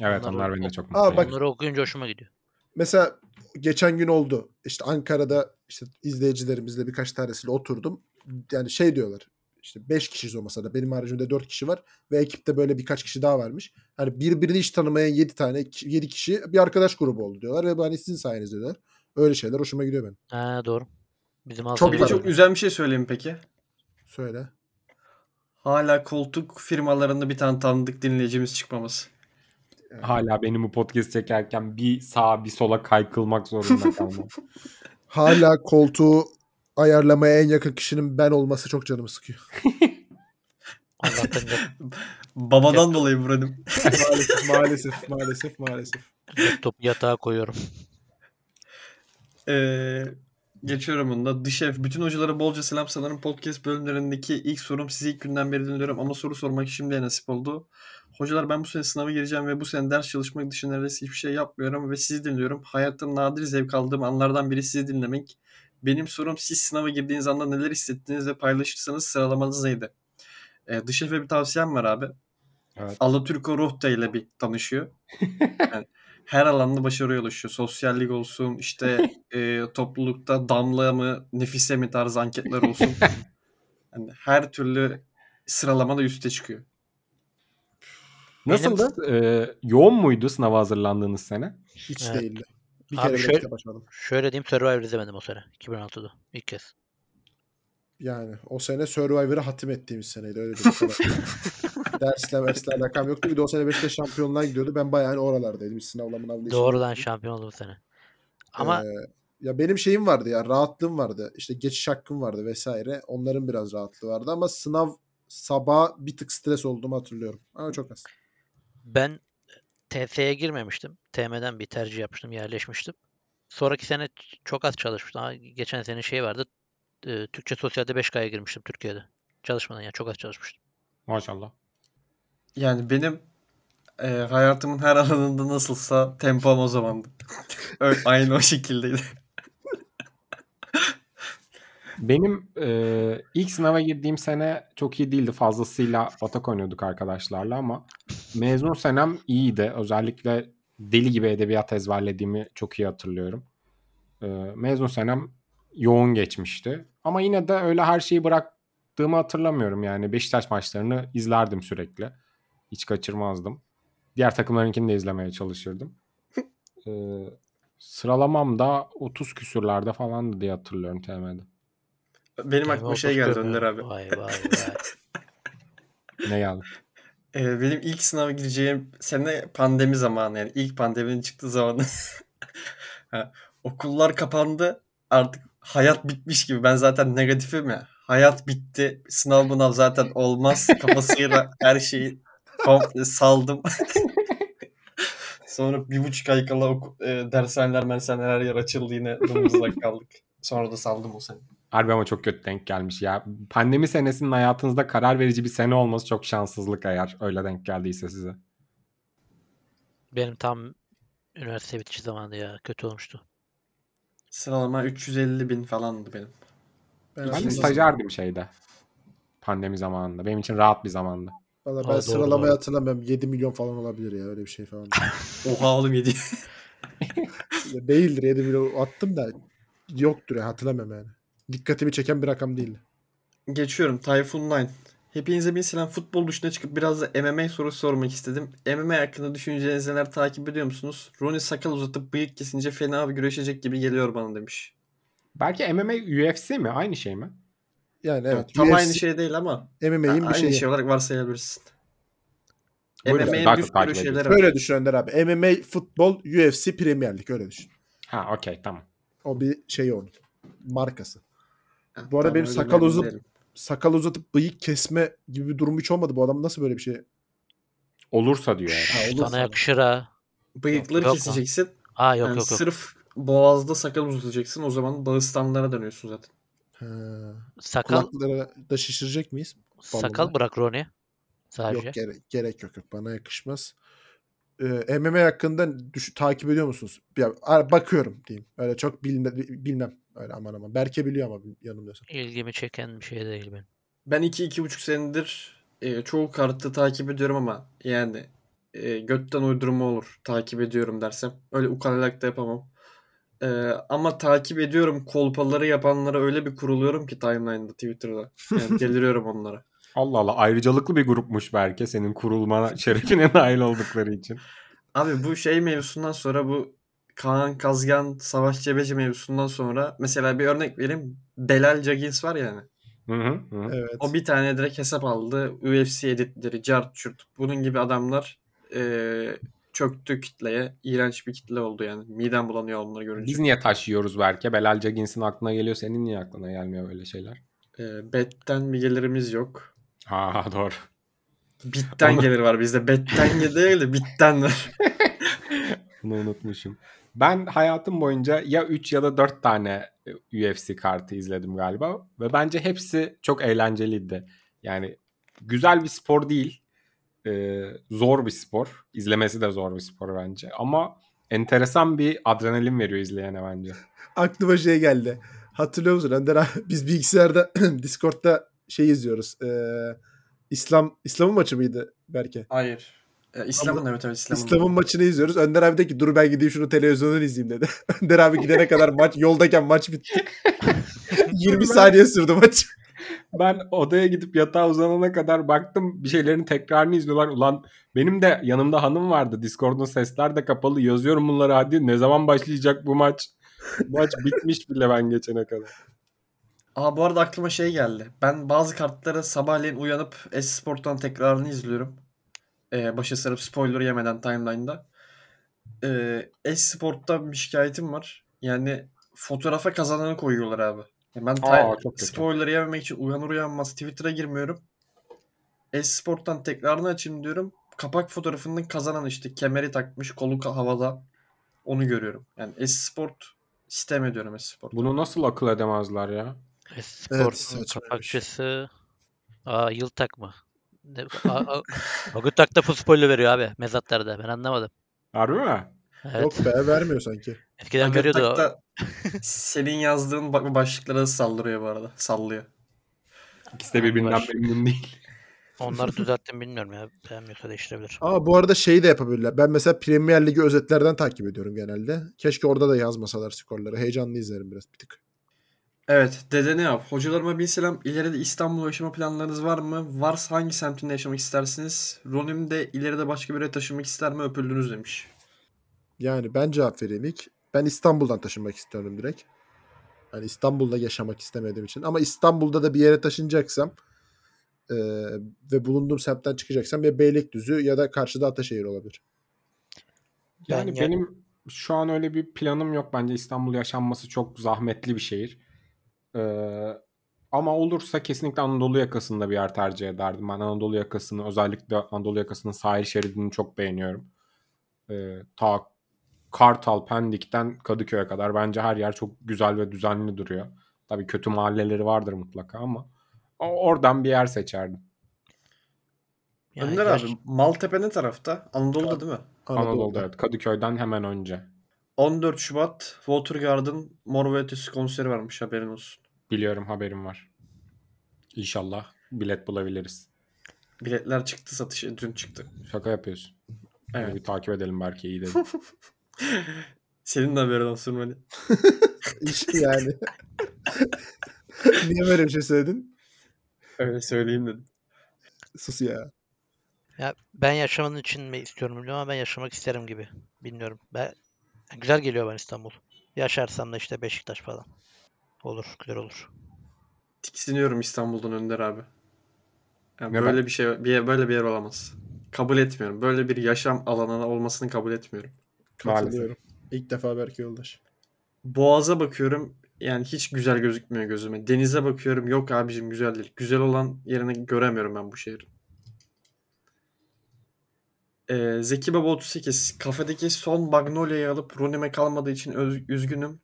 D: Evet
E: Onlar-
D: onlar beni de çok
C: Aa,
D: mutlu
C: bak-
D: ediyor.
E: Bunları okuyunca hoşuma gidiyor.
C: Mesela geçen gün oldu. İşte Ankara'da işte izleyicilerimizle birkaç tanesiyle oturdum. Yani şey diyorlar. İşte 5 kişiyiz o masada. Benim haricimde 4 kişi var. Ve ekipte böyle birkaç kişi daha varmış. Hani birbirini hiç tanımayan 7 tane, 7 kişi bir arkadaş grubu oldu diyorlar. Ve bu hani sizin sayenizde diyorlar. Öyle şeyler hoşuma gidiyor benim.
E: Ha doğru. Bizim
B: Bir
C: Çok
E: Alsancak'ta
B: de
C: var.
E: da
B: çok
E: öyle.
B: üzen bir şey söyleyeyim peki.
C: Söyle.
B: Hala koltuk firmalarında bir tane tanıdık dinleyicimiz çıkmaması.
D: Hala benim bu podcast çekerken bir sağa bir sola kaykılmak zorunda kalmam.
C: Hala koltuğu ayarlamaya en yakın kişinin ben olması çok canımı sıkıyor.
E: Allah'tan
B: Babadan dolayı Murat'ım.
C: maalesef, maalesef, maalesef, maalesef.
E: laptopu yatağa koyuyorum.
B: Ee, geçiyorum bunda. Dışev. Bütün hocalara bolca selam sanırım. Podcast bölümlerindeki ilk sorum size ilk günden beri dinliyorum ama soru sormak şimdiye nasip oldu. Hocalar ben bu sene sınava gireceğim ve bu sene ders çalışmak dışında neredeyse hiçbir şey yapmıyorum ve sizi dinliyorum. Hayatta nadir zevk aldığım anlardan biri sizi dinlemek. Benim sorum siz sınava girdiğiniz anda neler hissettiniz ve paylaşırsanız sıralamanız neydi? Ee, Dışev'e bir tavsiyem var abi.
D: Evet.
B: Alaturko Rohta ile bir tanışıyor. Yani her alanda başarıya ulaşıyor. Sosyallik olsun, işte e, toplulukta damla mı, nefise mi tarzı anketler olsun. Yani her türlü sıralamada üste çıkıyor.
D: Nasıldı? Ee, yoğun muydu sınava hazırlandığınız sene?
C: Hiç
E: Evet.
C: değildi. Bir
E: Abi
C: kere bile
E: şöyle-
C: kitap açmadım.
E: Şöyle diyeyim Survivor izlemedim o sene. 2006'da. ilk kez.
C: Yani o sene Survivor'ı hatim ettiğimiz seneydi. Öyle bir kadar. Dersle mersle alakam yoktu. Bir de o sene Beşiktaş şampiyonluğa gidiyordu. Ben bayağı hani oralardaydım. Hiç sınavla mınavla işim
E: Doğrudan
C: yoktu.
E: şampiyon oldu bu sene. Ama
C: Ee, ya benim şeyim vardı ya rahatlığım vardı. İşte geçiş hakkım vardı vesaire. Onların biraz rahatlığı vardı ama sınav sabah bir tık stres olduğumu hatırlıyorum. Ama çok az.
E: ben TF'ye girmemiştim. TM'den bir tercih yapmıştım, yerleşmiştim. Sonraki sene ç- çok az çalışmıştım. Ama geçen sene şey vardı. e, Türkçe Sosyal'de 5K'ya girmiştim Türkiye'de. Çalışmadan ya çok az çalışmıştım.
D: Maşallah.
B: Yani benim e, hayatımın her alanında nasılsa tempom o zamandı. Öyle, aynı o şekildeydi.
D: Benim e, ilk sınava girdiğim sene çok iyi değildi. Fazlasıyla batak oynuyorduk arkadaşlarla ama mezun senem iyiydi. Özellikle deli gibi edebiyat ezberlediğimi çok iyi hatırlıyorum. E, mezun senem yoğun geçmişti. Ama yine de öyle her şeyi bıraktığımı hatırlamıyorum. Yani Beşiktaş maçlarını izlerdim sürekli. Hiç kaçırmazdım. Diğer takımlarınkini de izlemeye çalışırdım. E, sıralamam da 30 küsürlerde falandı diye hatırlıyorum TM'de.
B: Benim
E: Yani
B: aklıma
E: ben
B: şey
E: 30
B: geldi
E: görmüyorum.
B: Önder abi.
E: Vay vay vay.
D: Ne geldi?
B: E, benim ilk sınava gireceğim sene pandemi zamanı yani ilk pandeminin çıktığı zaman Ha, okullar kapandı artık hayat bitmiş gibi ben zaten negatifim ya hayat bitti sınav bunav zaten olmaz kafasıyla her şeyi komple saldım sonra bir buçuk ay kala oku- e, dershaneler merseneler her yer açıldı yine domuzda kaldık sonra da saldım o sene
D: Harbi ama çok kötü denk gelmiş ya. Pandemi senesinin hayatınızda karar verici bir sene olması çok şanssızlık eğer öyle denk geldiyse size.
E: Benim tam üniversite bitişi zamanı ya. Kötü olmuştu.
B: sıralama 350 bin falandı benim
C: Ben,
D: Ben
C: aslında-
D: de stajyerdim şeyde. Pandemi zamanında. Benim için rahat bir zamanda.
C: Valla ben
E: Aa, doğru,
C: sıralamayı
E: doğru.
C: hatırlamıyorum. 7 milyon falan olabilir ya öyle bir şey falan.
B: oha oğlum 7
C: Ya Değildir 7 milyon attım da yoktur ya hatırlamıyorum yani. Dikkatimi çeken bir rakam değil.
B: Geçiyorum Typhoon 9. Hepinize bir selam. Futbol dışına çıkıp biraz da MMA sorusu sormak istedim. MMA hakkında düşünceleriniz neler takip ediyor musunuz? Ronnie sakal uzatıp bıyık kesince fena bir güreşecek gibi geliyor bana demiş.
D: Belki MMA UFC mi? Aynı şey mi?
C: Yani
B: Evet,
C: evet.
B: Tam
C: UFC,
B: aynı şey değil ama
C: MMA'in bir
B: aynı
C: şeyi.
B: şey olarak varsayabilirsin.
D: Buyurun, siz
B: MMA'nin
D: daha
B: bir
D: çok takip
B: sürü şeyleri var.
C: Öyle düşün Önder abi. MMA, futbol, UFC, Premier Lig öyle düşün.
D: Ha okey tamam.
C: O bir şey onun. Markası.
B: Ha,
C: Bu arada
B: ben
C: benim
B: öyle
C: sakal
B: memnun
C: uzun-
B: değilim.
C: Sakal uzatıp bıyık kesme gibi bir durum hiç olmadı. Bu adam nasıl böyle bir şey?
D: Olursa diyor herhalde.
E: Şşş,
C: olur
E: sana
C: sana.
E: yakışır ha.
B: Bıyıkları
E: Yok lan.
B: keseceksin.
E: Aa yok
B: Yani
E: yok yok.
B: sırf boğazda sakal uzatacaksın. O zaman Dağıstanlara dönüyorsun zaten.
C: Ha.
E: Sakal
C: Kulakları da şişirecek miyiz?
E: sakal bırak Ronnie. Sadece.
C: Yok gere- gerek yok yok. Bana yakışmaz. e, MMA hakkında düş- takip ediyor musunuz? Ya, a- bakıyorum diyeyim. Öyle çok bilme- bilmem. Öyle aman aman. Berke biliyor ama yanılmıyorsam.
E: İlgimi çeken bir şey değil benim.
B: Ben 2-2,5 senedir e, çoğu kartı takip ediyorum ama yani e, götten uydurma olur takip ediyorum dersem. Öyle ukalalık da yapamam. E, ama takip ediyorum kolpaları yapanlara öyle bir kuruluyorum ki timeline'da Twitter'da. Yani deliriyorum onlara.
D: Allah Allah ayrıcalıklı bir grupmuş belki senin kurulma şerefine nail oldukları için.
B: Abi bu şey mevzusundan sonra bu Kaan Kazgan Savaş Cebeci mevzusundan sonra mesela bir örnek vereyim. Delal Jaggins var hani. yani.
D: Hı hı, hı.
C: Evet.
B: O bir tane direkt hesap aldı. UFC editleri, cart çurt. Bunun gibi adamlar eee, çöktü kitleye. İğrenç bir kitle oldu yani. Midem bulanıyor onları görünce.
D: Biz niye taş yiyoruz belki? Belal Cagins'in aklına geliyor senin niye aklına gelmiyor öyle şeyler?
B: Eee, betten bir gelirimiz yok.
D: Ha doğru.
B: Bitten
D: Onu-
B: gelir var bizde. Betten gelir değil de bitten var.
D: Bunu unutmuşum. Ben hayatım boyunca ya 3 ya da 4 tane e, UFC kartı izledim galiba ve bence hepsi çok eğlenceliydi. Yani güzel bir spor değil. Ee, zor bir spor. İzlemesi de zor bir spor bence ama enteresan bir adrenalin veriyor izleyene bence.
C: Aklıma şey geldi. Hatırlıyor musun Önder abi? Biz bilgisayarda Discord'da şey izliyoruz. Ee, İslam İslam'ın maçı mıydı Berke?
B: Hayır. E, İslam'ın evet evet İslam'ın.
C: İslam'ın maçını izliyoruz. Önder abi de ki dur ben gideyim şunu televizyondan izleyeyim dedi. Önder abi gidene kadar maç yoldayken maç bitti. 20 saniye sürdü maç.
D: Ben odaya gidip yatağa uzanana kadar baktım bir şeylerin tekrarını izliyorlar. Ulan benim de yanımda hanım vardı. Discord'un sesler de kapalı. Yazıyorum bunları hadi ne zaman başlayacak bu maç? maç bitmiş bile ben geçene kadar.
B: Aa bu arada aklıma şey geldi. Ben bazı kartları sabahleyin uyanıp Esport'tan tekrarını izliyorum. Ee, başa sarıp spoiler yemeden timeline'da. Ee, Esport'ta bir şikayetim var. Yani fotoğrafa kazananı koyuyorlar abi. Ya ben ta-
D: Aa, çok kötü.
B: spoiler yememek için uyanır uyanmaz Twitter'a girmiyorum. Esport'tan tekrarını açayım diyorum. Kapak fotoğrafının kazanan işte kemeri takmış kolu ka- havada. Onu görüyorum. Yani Esport sistem ediyorum Esport'tan.
D: Bunu nasıl akıl edemezler ya?
E: Esport'un
C: saçmaymış.
E: kapakçısı Aa yıl takma. Ne, a, a, Agütak da full spoiler veriyor abi mezatlarda. Ben anlamadım.
D: Harbi mi?
E: Evet.
C: Yok be vermiyor sanki.
E: Eskiden
B: Aga
E: veriyordu.
B: tak da senin yazdığın ba- başlıklara da saldırıyor bu arada. Sallıyor.
D: İkisi de birbirinden
E: Anlaş.
D: memnun değil.
E: Onları düzelttim bilmiyorum ya. Beğenmiyorsa değiştirebilir.
C: Ama bu arada şeyi de yapabilirler. Ben mesela Premier Ligi özetlerden takip ediyorum genelde. Keşke orada da yazmasalar skorları. Heyecanlı izlerim biraz bir tık.
B: Evet dede ne yap? Hocalarıma bir selam. İleride İstanbul'a yaşama planlarınız var mı? Varsa hangi semtinde yaşamak istersiniz? Ronim de ileride başka bir yere taşınmak ister mi? Öpüldünüz demiş.
C: Yani ben cevap vereyim ilk. Ben İstanbul'dan taşınmak istiyorum direkt. Yani İstanbul'da yaşamak istemediğim için. Ama İstanbul'da da bir yere taşınacaksam eee, ve bulunduğum semtten çıkacaksam ya Beylikdüzü ya da karşıda Ataşehir olabilir.
D: Yani
E: Ben-
D: benim şu an öyle bir planım yok. Bence İstanbul yaşanması çok zahmetli bir şehir. Ee, ama olursa kesinlikle Anadolu yakasında bir yer tercih ederdim. Ben Anadolu yakasını özellikle Anadolu yakasının sahil şeridini çok beğeniyorum. Ee, ta Kartal, Pendik'ten Kadıköy'e kadar bence her yer çok güzel ve düzenli duruyor. Tabii kötü mahalleleri vardır mutlaka ama o- oradan bir yer seçerdim.
E: Yani
B: Önder
E: yaş-
B: abi Maltepe ne tarafta? Anadolu'da değil mi?
D: Anadolu'da evet. Kadıköy'den hemen önce.
B: 14 Şubat Watergarden Mor ve Ötesi konseri varmış haberin olsun.
D: Biliyorum haberim var. İnşallah bilet bulabiliriz.
B: Biletler çıktı satışı dün çıktı.
D: Şaka yapıyorsun. Bunu
B: Evet.
D: Bir takip edelim belki iyi dedin.
B: Senin de haberin olsun hani.
C: İşte yani. Niye böyle bir şey söyledin?
B: Öyle söyleyeyim dedim.
C: Sus ya.
E: Ya ben yaşamanın için mi istiyorum bilmiyorum ama ben yaşamak isterim gibi. Bilmiyorum. Ben yani güzel geliyor ben İstanbul. Yaşarsam da işte Beşiktaş falan. Olur, güzel olur.
B: tiksiniyorum İstanbul'dan Önder abi. Yani
D: Neden?
B: böyle bir şey bir yer- böyle bir yer olamaz. Kabul etmiyorum. Böyle bir yaşam alanına olmasını kabul etmiyorum.
C: Katılıyorum. İlk defa Berke Yoldaş.
B: Boğaza bakıyorum yani hiç güzel gözükmüyor gözüme. Denize bakıyorum yok abicim güzel değil. Güzel olan yerini göremiyorum ben bu şehrin. Ee, Zeki Baba 38 kafedeki son Magnolia'yı alıp Ronim'e kalmadığı için öz- üzgünüm.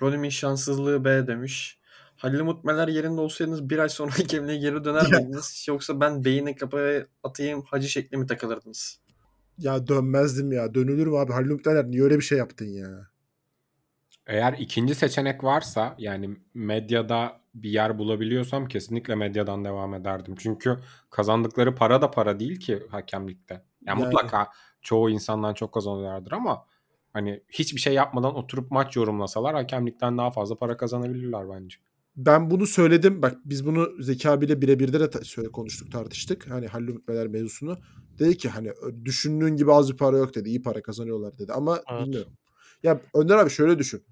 B: Ronim'in şanssızlığı B demiş. Halil Umut Meler yerinde olsaydınız bir ay sonra hakemliğe geri döner miydiniz? Yoksa ben beyine kafaya atayım hacı şekli mi takılırdınız?
C: Ya dönmezdim ya. Dönülür mü abi? Halil Umut Ener niye öyle bir şey yaptın ya?
D: Eğer ikinci seçenek varsa yani medyada bir yer bulabiliyorsam kesinlikle medyadan devam ederdim. Çünkü kazandıkları para da para değil ki hakemlikte. Yani,
C: Yani.
D: mutlaka çoğu insandan çok kazanıyorlardır ama hani hiçbir şey yapmadan oturup maç yorumlasalar hakemlikten daha fazla para kazanabilirler bence.
C: Ben bunu söyledim. Bak biz bunu Zeki abiyle birebirde de ta- söyle konuştuk tartıştık. Hani Halil Umut Meler mevzusunu. Dedi ki hani ö- düşündüğün gibi az bir para yok dedi. İyi para kazanıyorlar dedi. Ama
E: Evet.
C: bilmiyorum. Ya Önder abi şöyle düşün.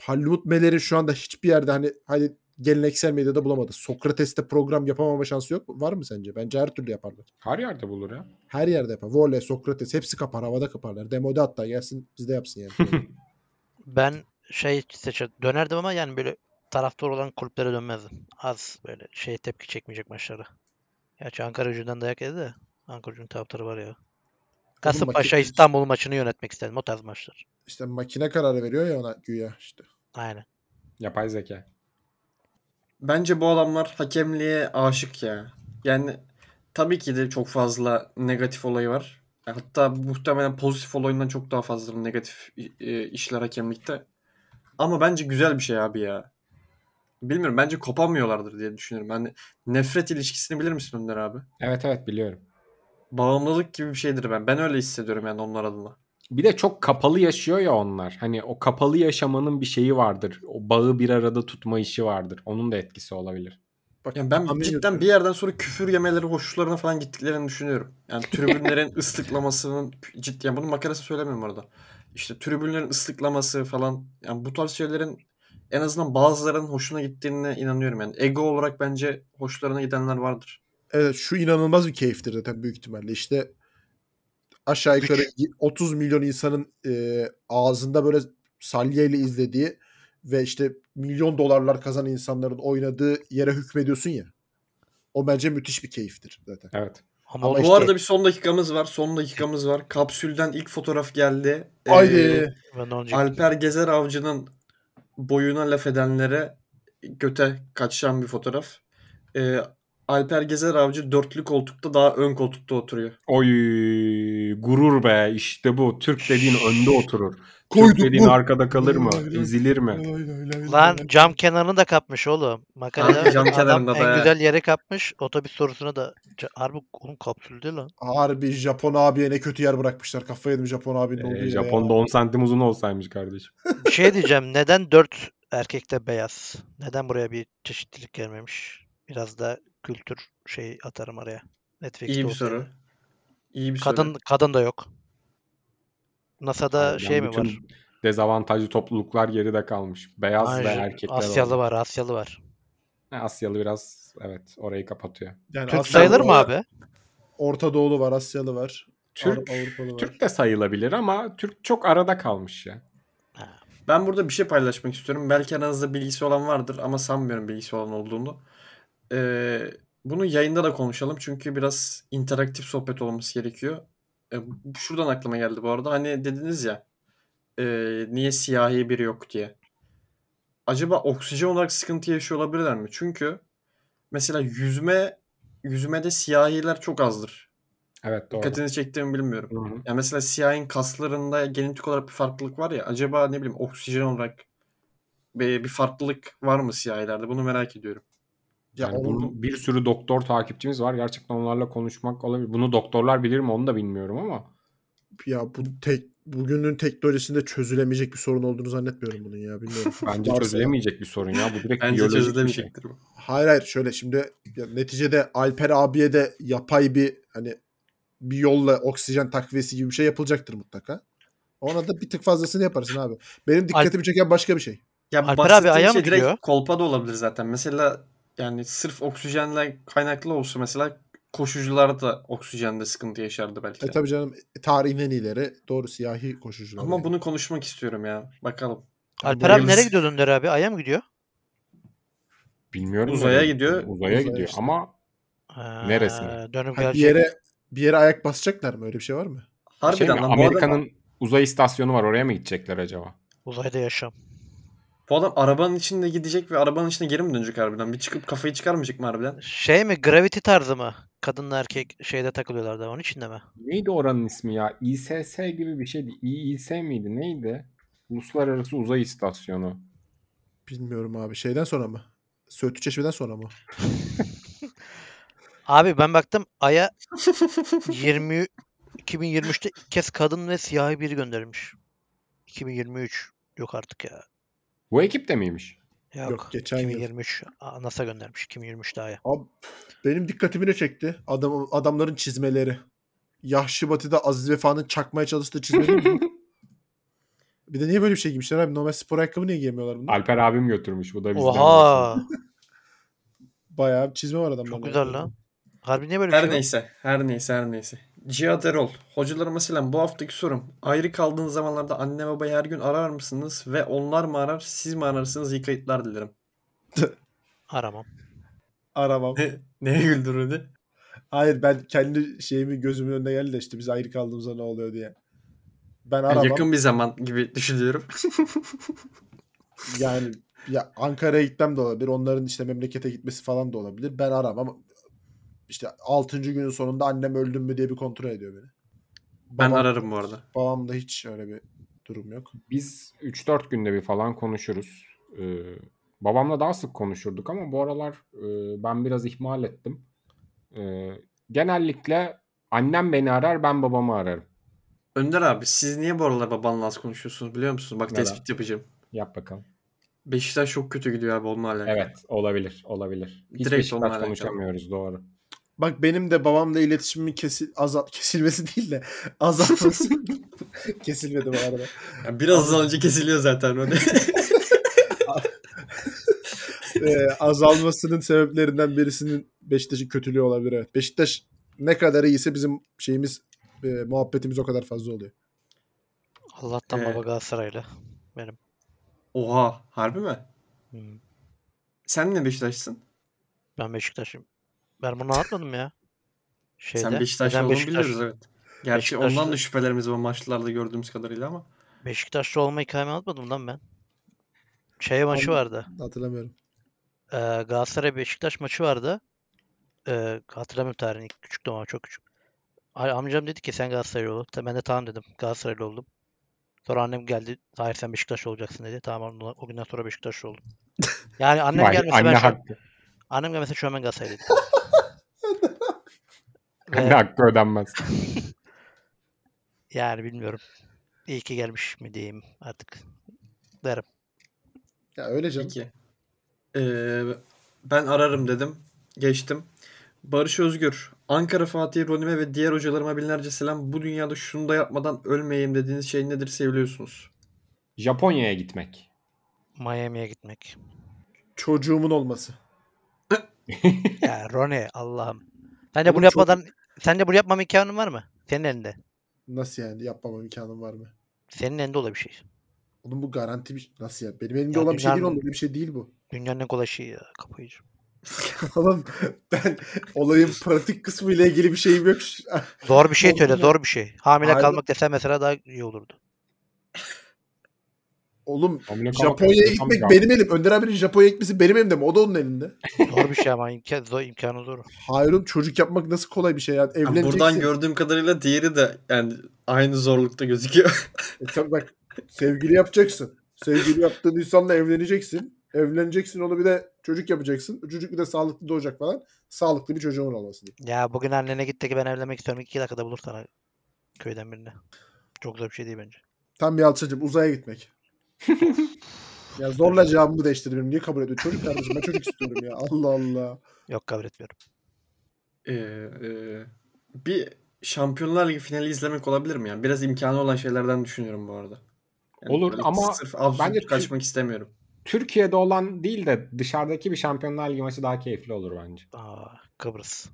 C: Halil Umut Meler'i şu anda hiçbir yerde hani hani geleneksel medyada bulamadı. Sokrates'te program yapamama şansı yok mu? Var mı sence? Bence her türlü yaparlar.
D: Her yerde bulur ya.
C: Her yerde yapar. Voley, Sokrates hepsi kapar. Havada kaparlar. Demode hatta gelsin bizde yapsın yani.
E: Ben şey seçer dönerdim ama yani böyle taraftar olan kulüplere dönmezdim. Az böyle şey tepki çekmeyecek maçlara. Gerçi Ankara Gücü'nden dayak yedi de Ankara Gücü'nün taraftarı var ya. Kasımpaşa
C: makine-
E: İstanbul maçını yönetmek istedim o tarz maçlar.
C: işte makine kararı veriyor ya ona güya işte.
E: Aynen.
D: Yapay zeka.
B: Bence bu adamlar hakemliğe aşık ya. Yani tabii ki de çok fazla negatif olayı var. Hatta muhtemelen pozitif olayından çok daha fazladır negatif e, işler hakemlikte. Ama bence güzel bir şey abi ya. Bilmiyorum bence kopamıyorlardır diye düşünüyorum. Hani nefret ilişkisini bilir misin Önder abi?
D: Evet evet biliyorum.
B: Bağımlılık gibi bir şeydir ben. Ben öyle hissediyorum yani onlar adına.
D: Bir de çok kapalı yaşıyor ya onlar. Hani o kapalı yaşamanın bir şeyi vardır. O bağı bir arada tutma işi vardır. Onun da etkisi olabilir.
C: Bak,
B: Yani ben
C: tahmin
B: cidden
C: yürütüyorum.
B: bir yerden sonra küfür yemeleri hoşlarına falan gittiklerini düşünüyorum. Yani tribünlerin ıslıklamasının ciddi yani bunun makarası söylemiyorum orada. İşte tribünlerin ıslıklaması falan yani bu tarz şeylerin en azından bazılarının hoşuna gittiğine inanıyorum. Yani ego olarak bence hoşlarına gidenler vardır.
C: Evet şu inanılmaz bir keyiftir zaten büyük ihtimalle. İşte aşağı
E: Güç.
C: yukarı 30 milyon insanın e, ağzında böyle salyeyle izlediği ve işte milyon dolarlar kazanan insanların oynadığı yere hükmediyorsun ya. O bence müthiş bir keyiftir zaten.
D: Evet.
E: Ama,
C: Ama
E: o da
B: Bu
E: işte
B: arada bir son dakikamız var. Son dakikamız var. Kapsülden ilk fotoğraf geldi. Ee,
C: Haydi.
E: ben de onu diyecektim.
B: Alper Gezer Avcı'nın boyuna laf edenlere göte kaçan bir fotoğraf. Ee, Alper Gezer Avcı dörtlü koltukta daha ön koltukta oturuyor.
D: Oy gurur be işte bu. Türk dediğin önde oturur.
C: Koyduk
D: Türk dediğin
C: mu?
D: arkada kalır mı?
C: Koyduk mu?
D: Ezilir mi?
E: Lan cam kenarını da kapmış oğlum. Makarada
B: Harbi cam
E: adam
B: kenarında da
E: en
B: ya.
E: güzel yere kapmış. Otobüs sorusuna da Ca- harbi onun kapsülde lan.
C: Harbi Japon abiye ne kötü yer bırakmışlar. Kafayı yedim Japon abinin olduğu
D: Ee,
C: yere
D: Japon'da
C: ya.
D: 10 santim uzun olsaymış kardeşim.
E: Bir şey diyeceğim. Neden 4 erkekte beyaz? Neden buraya bir çeşitlilik gelmemiş? Biraz da kültür şey atarım araya. Netflix'te
B: İyi bir
E: olsaydı.
B: soru. İyi bir
E: Kadın
B: soru.
E: kadın da yok. NASA'da
D: Harbiden
E: şey mi
D: bütün
E: var?
D: Dezavantajlı topluluklar geride kalmış. Beyaz ve
E: Anj-
D: erkekler
E: Asyalı
D: var.
E: var, Asyalı var.
D: Asyalı biraz evet orayı kapatıyor.
C: Yani
E: Türk
C: Asyalı
E: sayılır mı
C: var,
E: abi?
C: Orta Doğulu var, Asyalı var.
D: Türk
C: Avru- Avrupalı var.
D: Türk de sayılabilir ama Türk çok arada kalmış ya.
B: Ben burada bir şey paylaşmak istiyorum. Belki aranızda bilgisi olan vardır ama sanmıyorum bilgisi olan olduğunu. Ee, bunu yayında da konuşalım çünkü biraz interaktif sohbet olması gerekiyor. Ee, bu- şuradan aklıma geldi bu arada. Hani dediniz ya e, niye siyahi biri yok diye. Acaba oksijen olarak sıkıntı yaşıyor olabilirler mi? Çünkü mesela yüzme yüzmede siyahiler çok azdır.
D: Evet doğru.
B: Dikkatinizi çektiğimi bilmiyorum.
D: Hı hı.
B: Ya mesela siyahın kaslarında genetik olarak bir farklılık var ya. Acaba ne bileyim oksijen olarak bir, bir farklılık var mı siyahilerde? Bunu merak ediyorum.
C: Ya
D: Yani
C: onun-
D: bunun bir sürü doktor takipçimiz var. Gerçekten onlarla konuşmak olabilir. Bunu doktorlar bilir mi onu da bilmiyorum ama.
C: ya bu tek bugünün teknolojisinde çözülemeyecek bir sorun olduğunu zannetmiyorum bunun ya bilmiyorum.
D: Bence
C: Varsa-
D: çözülemeyecek bir sorun ya. Bu direkt
B: Bence
D: biyolojik bir şey.
B: çözülemeyecektir bu.
C: Hayır hayır şöyle şimdi ya neticede Alper abiye de yapay bir hani bir yolla oksijen takviyesi gibi bir şey yapılacaktır mutlaka. Ona da bir tık fazlasını yaparsın abi. Benim dikkatimi çeken başka bir şey.
B: Ya
E: Alper abi
B: bahsettiğim
E: ayağa
B: şey
E: mı
B: direkt
E: giriyor?
B: kolpa da olabilir zaten. Mesela yani sırf oksijenle kaynaklı olsa mesela koşucular da oksijende sıkıntı yaşardı belki.
C: E
B: de.
C: tabii canım tarihin en iyileri doğru siyahi koşucular.
B: Ama
C: yani.
B: bunu konuşmak istiyorum ya. Bakalım.
C: Yani
E: Alper
C: bu-
E: abi nereye gidiyor Önder abi? Ay'a mı gidiyor?
D: Bilmiyorum.
B: Uzaya
D: nereye
B: gidiyor.
D: Uzaya
C: Uzaya
D: gidiyor
C: işte.
D: ama Neresine?
E: Ha, Dönüp
C: Ha, Hani bir
E: gelecek.
C: yere bir yere ayak basacaklar mı öyle bir şey var mı?
B: Harbiden
D: şey mi?
B: lan bu adam-
D: Amerika'nın uzay istasyonu var. Oraya mı gidecekler acaba?
E: Uzayda yaşam.
B: Bu adam arabanın içinde gidecek ve arabanın içine geri mi dönecek harbiden? Bir çıkıp kafayı çıkarmayacak mı harbiden?
E: Şey mi? Gravity tarzı mı? kadınla erkek şeyde takılıyorlardı. Onun içinde mi?
D: Neydi oranın ismi ya? İSS gibi bir şeydi. İİS miydi? Neydi? Uluslararası Uzay İstasyonu.
C: Bilmiyorum abi. Şeyden sonra mı? Söğütü Çeşme'den sonra mı?
E: Abi ben baktım Ay'a 20 2023'te ilk kez kadın ve siyahi biri gönderilmiş. 2023 yok artık ya.
D: Bu ekip de miymiş?
E: Yok,
C: Yok, geçen yıl.
E: 2023 A- NASA göndermiş 2023 daha ya.
C: Abi, benim dikkatimi ne çekti? Adam, adamların çizmeleri. Yahşi Batı'da Aziz Vefa'nın çakmaya çalıştığı çizme değil mi? bir de niye böyle bir şey giymişler abi? Normal spor ayakkabı niye giyemiyorlar bunu?
D: Alper abim götürmüş. Bu da bizden.
E: Oha!
D: olsun.
C: Bayağı bir çizme var adamların.
E: Çok güzel lan. Harbi niye böyle bir
B: Her
E: şey var?
B: neyse, her neyse, her neyse. Cihat Erol, hocalarıma selam. Bu haftaki sorum. Ayrı kaldığınız zamanlarda anne babayı her gün arar mısınız? Ve onlar mı arar, siz mi ararsınız? İyi kayıtlar dilerim.
E: Aramam.
C: Aramam.
B: Ne, neye güldürdü?
C: Hayır ben kendi şeyimi gözümün önüne geldi de işte biz ayrı kaldığımızda ne oluyor diye. Ben
B: Yani
C: aramam.
B: yakın bir zaman gibi düşünüyorum.
C: Yani ya Ankara'ya gitmem de olabilir. Onların işte memlekete gitmesi falan da olabilir. Ben aramam. İşte 6. günün sonunda annem öldüm mü diye bir kontrol ediyor beni.
B: ben
C: Babam-
B: ararım bu arada.
C: Babamda hiç öyle bir durum yok.
D: Biz 3-4 günde bir falan konuşuruz. Ee, babamla daha sık konuşurduk ama bu aralar e, ben biraz ihmal ettim. Ee, genellikle annem beni arar, ben babamı ararım.
B: Önder abi siz niye bu aralar babanla az konuşuyorsunuz biliyor musunuz? Bak
D: Neden?
B: tespit yapacağım.
D: Yap bakalım.
B: Beşiktaş çok kötü gidiyor abi onunla alakalı.
D: Evet, olabilir, olabilir. Hiç
B: Direkt onunla
D: Beşiktaş
B: alakalı.
D: konuşamıyoruz, doğru.
C: Bak benim de babamla iletişimimin kesil, azalt, kesilmesi değil de azaltması. Kesilmedi bu arada.
B: Yani birazdan önce kesiliyor zaten öyle.
C: Ee, azalmasının sebeplerinden birisinin Beşiktaş'ın kötülüğü olabilir evet. Beşiktaş ne kadar iyiyse bizim şeyimiz e, muhabbetimiz o kadar fazla oluyor.
E: Allah'tan
B: Ee.
E: baba Galatasaraylı. Benim.
B: Oha harbi mi?
E: Hmm.
B: Sen ne Beşiktaş'sın?
E: Ben Beşiktaş'ım. Ben bunu anlatmadım ya. Şeyde.
B: Sen Beşiktaşlı
E: neden
B: olduğunu biliyoruz evet. Gerçi ondan
E: Beşiktaşlı-
B: da şüphelerimiz var maçlarda gördüğümüz kadarıyla ama.
E: Beşiktaşlı olma hikayemi anlatmadım lan ben. Şey maçı vardı.
C: Hatırlamıyorum.
E: Ee, Galatasaray Beşiktaş maçı vardı. Ee, hatırlamıyorum tarihini. Küçüktüm ama çok küçük. A- Amcam dedi ki sen Galatasaraylı ol. Ta- Ben de tamam dedim. Galatasaraylı oldum. Sonra annem geldi. Hayır sen Beşiktaşlı olacaksın dedi. Tamam o o günden sonra Beşiktaşlı oldum. Yani annem
D: Vay,
E: gelmese
D: anne
E: ben şey şu an,
D: hakkı.
E: annem gelmese şu an ben Galatasaraylıydım. Ve
D: Anne hakkı ödenmez.
E: yani bilmiyorum. İyi ki gelmiş mi diyeyim artık. Derim.
C: Ya öyle canım.
B: Peki. Ee, ben ararım dedim. Geçtim. Barış Özgür. Ankara Fatih Ronime ve diğer hocalarıma binlerce selam. Bu dünyada şunu da yapmadan ölmeyeyim dediğiniz şey nedir seviyorsunuz?
D: Japonya'ya gitmek.
E: Miami'ye gitmek.
C: Çocuğumun olması.
E: Ya Rone Allah'ım. Sen de bunu
C: Oğlum çok-
E: yapmadan sen de bunu yapmam imkanın var mı? Senin elinde.
C: Nasıl yani yapmama imkanım var mı?
E: Senin elinde olan bir şey.
C: Oğlum bu garanti bir Nasıl ya? Benim elimde
E: Ya
C: olan bir şey değil
E: dünyanın-
C: oğlum. Böyle bir şey değil bu.
E: Dünyanın en kolay şeyi ya kapayıcı.
C: oğlum ben olayın pratik kısmı ile ilgili bir şeyim yok.
E: Zor bir şey
C: Oğlum
E: söyle,
C: ya.
E: zor bir şey. Hamile
C: Harbi-
E: kalmak desen mesela daha iyi olurdu.
C: oğlum
D: Hamile kalmak-
C: Japonya'ya gitmek
D: Yapamayacağım.
C: benim elim. Önder abinin Japonya'ya gitmesi benim elimde mi? O da onun elinde.
E: Zor bir şey ama imkan, zor, imkanı zor.
C: Hayır oğlum çocuk yapmak nasıl kolay bir şey ya.
B: Yani
C: Evleneceksin.
B: buradan gördüğüm kadarıyla diğeri de yani aynı zorlukta gözüküyor.
C: E tabii bak sevgili yapacaksın. Sevgili yaptığın insanla evleneceksin. Evleneceksin onu bir de çocuk yapacaksın. Çocuk bir de sağlıklı doğacak falan. Sağlıklı bir çocuğumun olması diye.
E: Ya bugün annene git de ki ben evlenmek istiyorum. iki dakikada bulur sana köyden birini. Çok zor bir şey değil bence.
C: Tam Yalçıncığım uzaya gitmek. ya zorla cevabımı değiştirdi benim. Niye kabul ediyor? Çocuk kardeşim ben çocuk istiyorum ya. Allah Allah.
E: Yok kabul etmiyorum.
B: Ee, e, bir Şampiyonlar Ligi finali izlemek olabilir mi? Yani biraz imkanı olan şeylerden düşünüyorum bu arada. Yani
D: Olur
B: böyle
D: ama
B: sırf absürt
D: bence-
B: kaçmak istemiyorum.
D: Türkiye'de olan değil de dışarıdaki bir Şampiyonlar Ligi maçı daha keyifli olur bence.
E: Aa, Kıbrıs.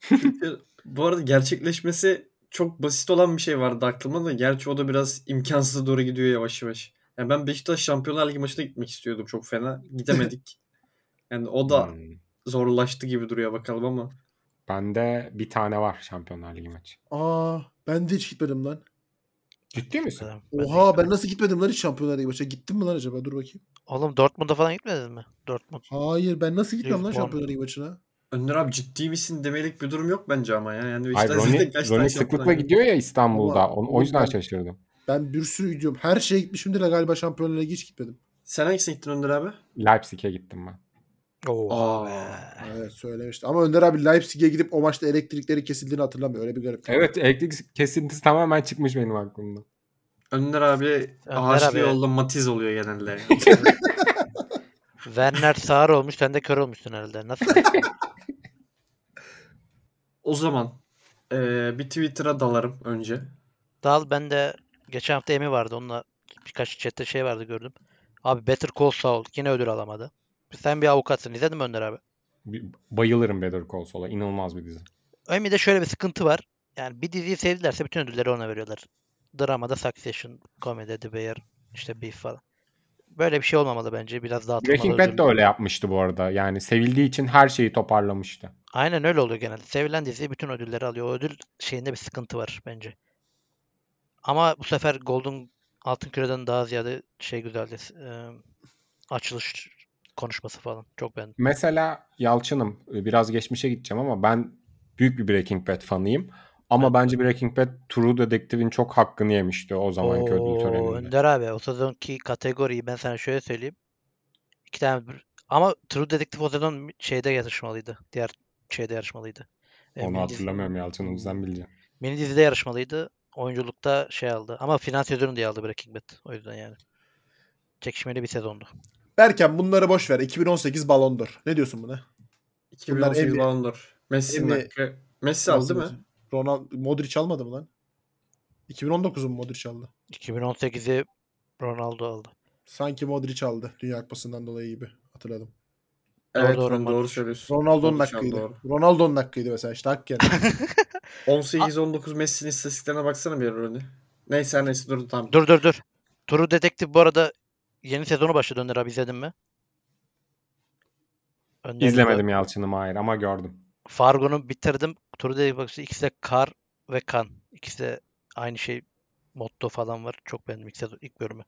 B: Çünkü bu arada gerçekleşmesi çok basit olan bir şey vardı aklımda da. Gerçi o da biraz imkansıza doğru gidiyor yavaş yavaş. Yani ben Beşiktaş Şampiyonlar Ligi maçına gitmek istiyordum çok fena. Gidemedik. Yani o da
D: Hmm.
B: zorlaştı gibi duruyor bakalım ama.
D: Bende bir tane var Şampiyonlar Ligi maçı.
C: Aa ben de hiç gitmedim lan.
D: Ciddi misin?
E: Selam. Ben de
C: Oha ben
E: gitmedim.
C: nasıl gitmedim lan hiç şampiyonlar ligi maçına. Gittim mi lan acaba? Dur bakayım.
E: Oğlum Dortmund'a falan gitmedin mi? Dortmund.
C: Hayır ben nasıl gitmem lan
E: Lisbon.
C: şampiyonlar ligi maçına?
B: Önder abi ciddi misin demelik bir durum yok bence ama ya. Yani
D: Hayır,
B: Beşiktaş
D: Roni,
B: zaten kaç
D: Roni
B: tane şey
D: sıklıkla
B: şampiyon-
D: gidiyor ya İstanbul'da.
C: Ama
D: Onu, o yüzden
C: ben-
D: şaşırdım.
C: Ben bir sürü gidiyorum. Her şeye gitmişimdir de galiba Şampiyonlar Ligi hiç gitmedim.
B: Sen hangisine gittin Önder abi?
D: Leipzig'e gittim ben.
E: Oha
B: Aa.
E: be.
C: Evet söylemişti. Ama Önder abi Leipzig'e gidip o maçta elektrikleri kesildiğini hatırlamıyor. Öyle bir garip.
D: Evet elektrik kesintisi tamamen çıkmış benim aklımda.
B: Önder abi
E: Önder
B: ağaçlı
E: abi.
B: yolda matiz oluyor genelde.
E: Werner sağır olmuş sen de kör olmuşsun herhalde. Nasıl?
B: o zaman eee, bir Twitter'a dalarım önce.
E: Dal ben de geçen hafta Emi vardı. Onunla birkaç chatte şey vardı gördüm. Abi Better Call Saul yine ödül alamadı. Sen bir avukatsın. İzledin mi Önder abi?
D: Bir- Bayılırım Better Call Saul'a. İnanılmaz bir dizi.
E: Ömi'de şöyle bir sıkıntı var. Yani bir diziyi sevdilerse bütün ödülleri ona veriyorlar. Dramada Succession, komedide The Bear, işte Beef falan. Böyle bir şey olmamalı bence. Biraz dağıtılmalı.
D: Breaking Bad de
E: ödüller.
D: öyle yapmıştı bu arada. Yani sevildiği için her şeyi toparlamıştı.
E: Aynen öyle oluyor genelde. Sevilen dizi bütün ödülleri alıyor. O ödül şeyinde bir sıkıntı var bence. Ama bu sefer Golden Altın Küre'den daha ziyade şey güzeldi. e, açılış konuşması falan. Çok beğendim.
D: Mesela Yalçın'ım Ee, biraz geçmişe gideceğim ama ben büyük bir Breaking Bad fanıyım. Ama bence Breaking Bad True Detective'in çok hakkını yemişti o zamanki
E: Oo,
D: ödül töreninde.
E: Önder abi o sezonki kategoriyi ben sana şöyle söyleyeyim. İki tane bir- ama True Detective o sezon şeyde yarışmalıydı. Diğer şeyde yarışmalıydı. E,
D: Onu
E: mini dizi-
D: hatırlamıyorum Yalçın'ım sen bileceksin.
E: Mini dizide yarışmalıydı. Oyunculukta şey aldı. Ama finans yazarını diye aldı Breaking Bad. O yüzden yani. Çekişmeli bir sezondu.
C: Berken bunları boş ver. 2018 balondur. Ne diyorsun buna?
B: 2018
C: Emre-
B: Balondur. Messi'nin
C: Emre-
B: hakkı. Messi aldı mı?
C: Ronald Modric almadı mı lan? 2019'un Modric aldı.
E: 2018'i Ronaldo aldı.
C: Sanki Modric aldı Dünya Kupası'ndan dolayı gibi hatırladım.
E: Doğru,
B: Evet
E: doğru,
B: doğru, doğru
E: mantıklı.
B: söylüyorsun.
C: Ronaldo'nun
B: Modric aldı,
C: hakkıydı.
B: doğru.
C: Ronaldo'nun hakkıydı mesela işte hak geldi.
B: 18-19 Messi'nin istatistiklerine baksana bir Roni. Neyse her neyse dur tamam.
E: Dur dur dur. True Detective bu arada yeni sezonu başladı Önder abi izledin mi? Önder'in
D: İzlemedim Yalçın'ım hayır ama gördüm.
E: Fargo'nu bitirdim. Turu da bakışı ikisi de kar ve kan. İkisi de aynı şey motto falan var. Çok beğendim ilk, sezon, ilk bölümü.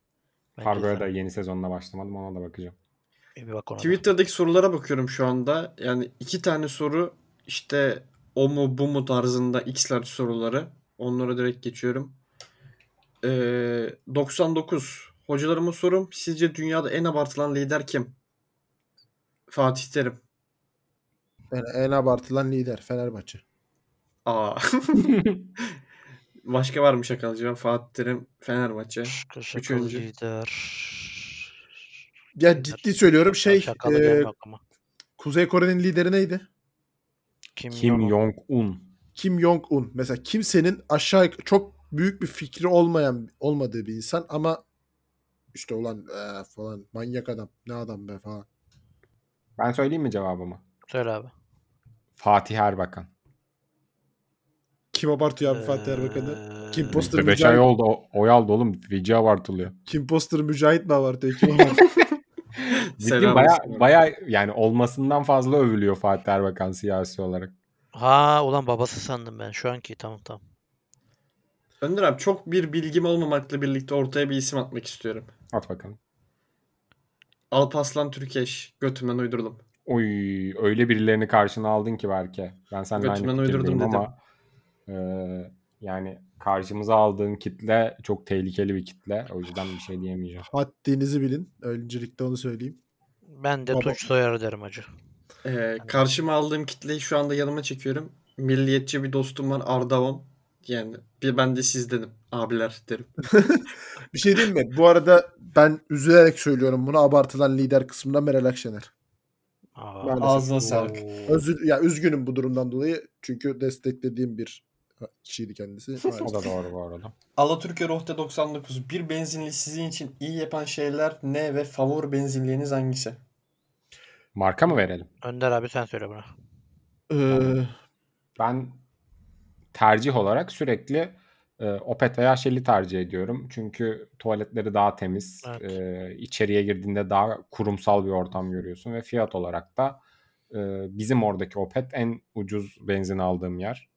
E: Bence
D: Fargo'ya da
E: izlen-
D: yeni sezonuna başlamadım ona da bakacağım.
E: bir bak ona da.
B: Twitter'daki sorulara bakıyorum şu anda. Yani iki tane soru işte o mu bu mu tarzında x'ler soruları. Onlara direkt geçiyorum. Ee, 99. Hocalarıma sorum. Sizce dünyada en abartılan lider kim? Fatih Terim.
C: Yani en abartılan lider Fenerbahçe.
B: Aa. Başka var mı şakalıcı? Ben Fatih Terim, Fenerbahçe.
E: Şaka şakalı
B: Üçüncü.
E: lider.
C: Ya ciddi söylüyorum
E: Şey,
C: şey
E: şakalı
C: e,
E: gelme aklıma.
C: Kuzey Kore'nin lideri neydi?
E: Kim,
D: Kim
E: Jong-un.
D: Jong-un.
C: Kim Jong-un. Mesela kimsenin aşağı yuk- çok büyük bir fikri olmayan olmadığı bir insan ama işte olan falan manyak adam ne adam be falan.
D: Ben söyleyeyim mi cevabımı?
E: Söyle abi.
D: Fatih Erbakan.
C: Kim abartıyor
E: Ee.
C: abi Fatih Erbakan'ı? Kim post- Poster
D: 5
C: Mücahit.
D: ay oldu. o- Oy aldı oğlum. Vici abartılıyor.
C: Kim Poster Mücahit mi abartıyor? Kim abartıyor?
D: Ciddi
B: Selam
D: baya
B: olsun.
D: baya yani olmasından fazla övülüyor Fatih Erbakan siyasi olarak.
E: Ha ulan babası sandım ben şu anki tamam tamam.
B: Önder abi çok bir bilgim olmamakla birlikte ortaya bir isim atmak istiyorum.
D: At bakalım.
B: Alpaslan Türkeş. Götümden uydurdum.
D: Oy öyle birilerini karşına aldın ki belki. Ben seninle aynı
B: Götümden uydurdum
D: fikirdeyim
B: dedim.
D: ama e, yani karşımıza aldığın kitle çok tehlikeli bir kitle. O yüzden bir şey diyemeyeceğim.
C: Haddinizi bilin. Öncelikle onu söyleyeyim.
E: Ben de
C: Baba-
E: Tunç Soyer derim acı.
B: Ee, karşıma aldığım kitleyi şu anda yanıma çekiyorum. Milliyetçi bir dostum var Ardavan. Yani bir ben de sizdenim abiler derim.
C: Bir şey diyeyim mi? Bu arada ben üzülerek söylüyorum bunu abartılan lider kısmında Meral Akşener.
E: Aa,
C: Maalesef.
B: Ağzına sağlık.
E: oo.
C: Özür, ya üzgünüm bu durumdan dolayı. Çünkü desteklediğim bir kişiydi kendisi.
D: O
C: Maalesef.
D: da doğru bu arada.
B: Alatürk'e Rohte 99. Bir benzinli sizin için iyi yapan şeyler ne ve favori benzinliğiniz hangisi?
D: Marka mı verelim?
E: Önder abi sen söyle buna.
C: Ee,
D: Ben tercih olarak sürekli e, Opet veya Shell'i tercih ediyorum. Çünkü tuvaletleri daha temiz.
E: Evet.
D: e, içeriye girdiğinde daha kurumsal bir ortam görüyorsun. Ve fiyat olarak da e, bizim oradaki Opet en ucuz benzin aldığım yer.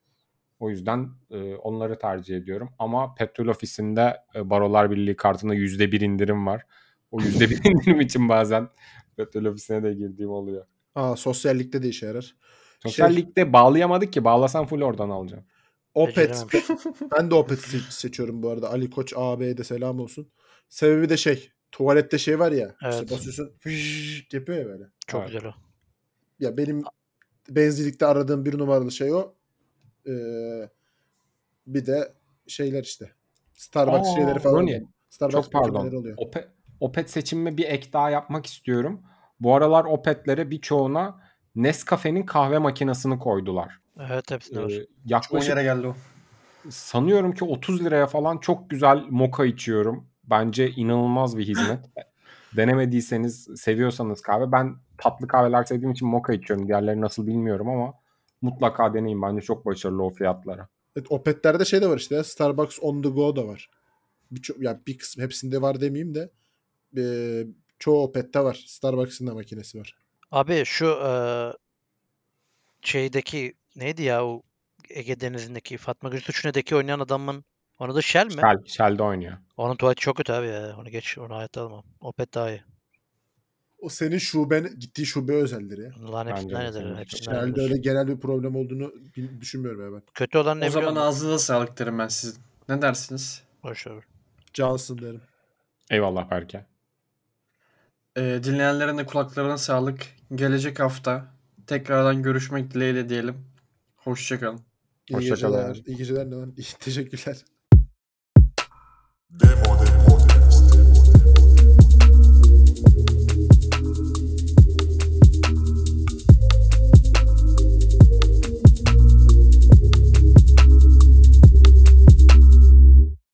D: O yüzden e, onları tercih ediyorum. Ama petrol ofisinde e, Barolar Birliği kartında %1 indirim var. O %1 indirim için bazen petrol ofisine de girdiğim oluyor.
C: aa, sosyallikte de işe yarar.
D: Sosyal
C: Şey-
D: ligde bağlayamadık ki. Bağlasan full oradan alacağım.
C: Opet.
E: Becerememiş.
C: Ben de Opet se- seçiyorum bu arada. Ali Koç AB'ye de selam olsun. Sebebi de şey. Tuvalette şey var ya.
E: Evet.
C: İşte basıyorsun. fışşt yapıyor ya böyle.
E: Çok
D: Evet.
E: güzel o.
C: Ya benim benzilikte aradığım bir numaralı şey o. Ee, bir de şeyler işte. Starbucks
D: Aa,
C: şeyleri falan.
D: Ronnie,
C: oluyor. Starbucks
D: Çok pardon.
C: makineleri oluyor.
D: Ope- Opet seçimime bir ek daha yapmak istiyorum. Bu aralar Opetlere birçoğuna Nescafe'nin kahve makinesini koydular.
E: Evet hepsinde var.
D: Ee,
B: O
D: yaklaşık
B: yere geldi o.
D: sanıyorum ki 30 liraya falan çok güzel moka içiyorum. Bence inanılmaz bir hizmet. Denemediyseniz, seviyorsanız kahve. Ben tatlı kahveler sevdiğim için moka içiyorum. Diğerleri nasıl bilmiyorum ama mutlaka deneyin. Bence çok başarılı o fiyatlara.
C: Evet, Opet'lerde şey de var işte. Starbucks on the go da var. Birçok ya bir kısmı hepsinde var demeyeyim de ee, çoğu Opet'te var. Starbucks'ın da makinesi var.
E: Abi şu eee, şeydeki neydi ya o Ege Denizi'ndeki Fatma Gül Suçu'ndaki oynayan adamın onu da Shell mi?
D: Shell, Shell'de oynuyor.
E: Onun tuvaleti çok kötü abi ya. Onu geç. Onu hayatta almam. Opet daha iyi.
C: O senin şuben gittiği şube özelleri. ya.
E: Lan
D: Bence
E: hepsinden
D: de
E: eder.
D: sanırım.
E: Hepsinden
C: Herhalde
E: eder.
C: öyle genel bir problem olduğunu bil- düşünmüyorum ya ben.
E: Kötü olan ne
B: O
E: biliyor
B: zaman
E: musun?
B: ağzınıza sağlık derim ben sizin. Ne dersiniz?
E: Boş ver.
C: Johnson derim.
D: Eyvallah Berke.
B: Ee, dinleyenlerin de kulaklarına sağlık. Gelecek hafta tekrardan görüşmek dileğiyle diyelim. Hoşçakalın.
C: İyi
D: Hoşça kal
C: geceler.
D: abi.
C: İyi geceler. ne lan? İyi, teşekkürler.
F: Demo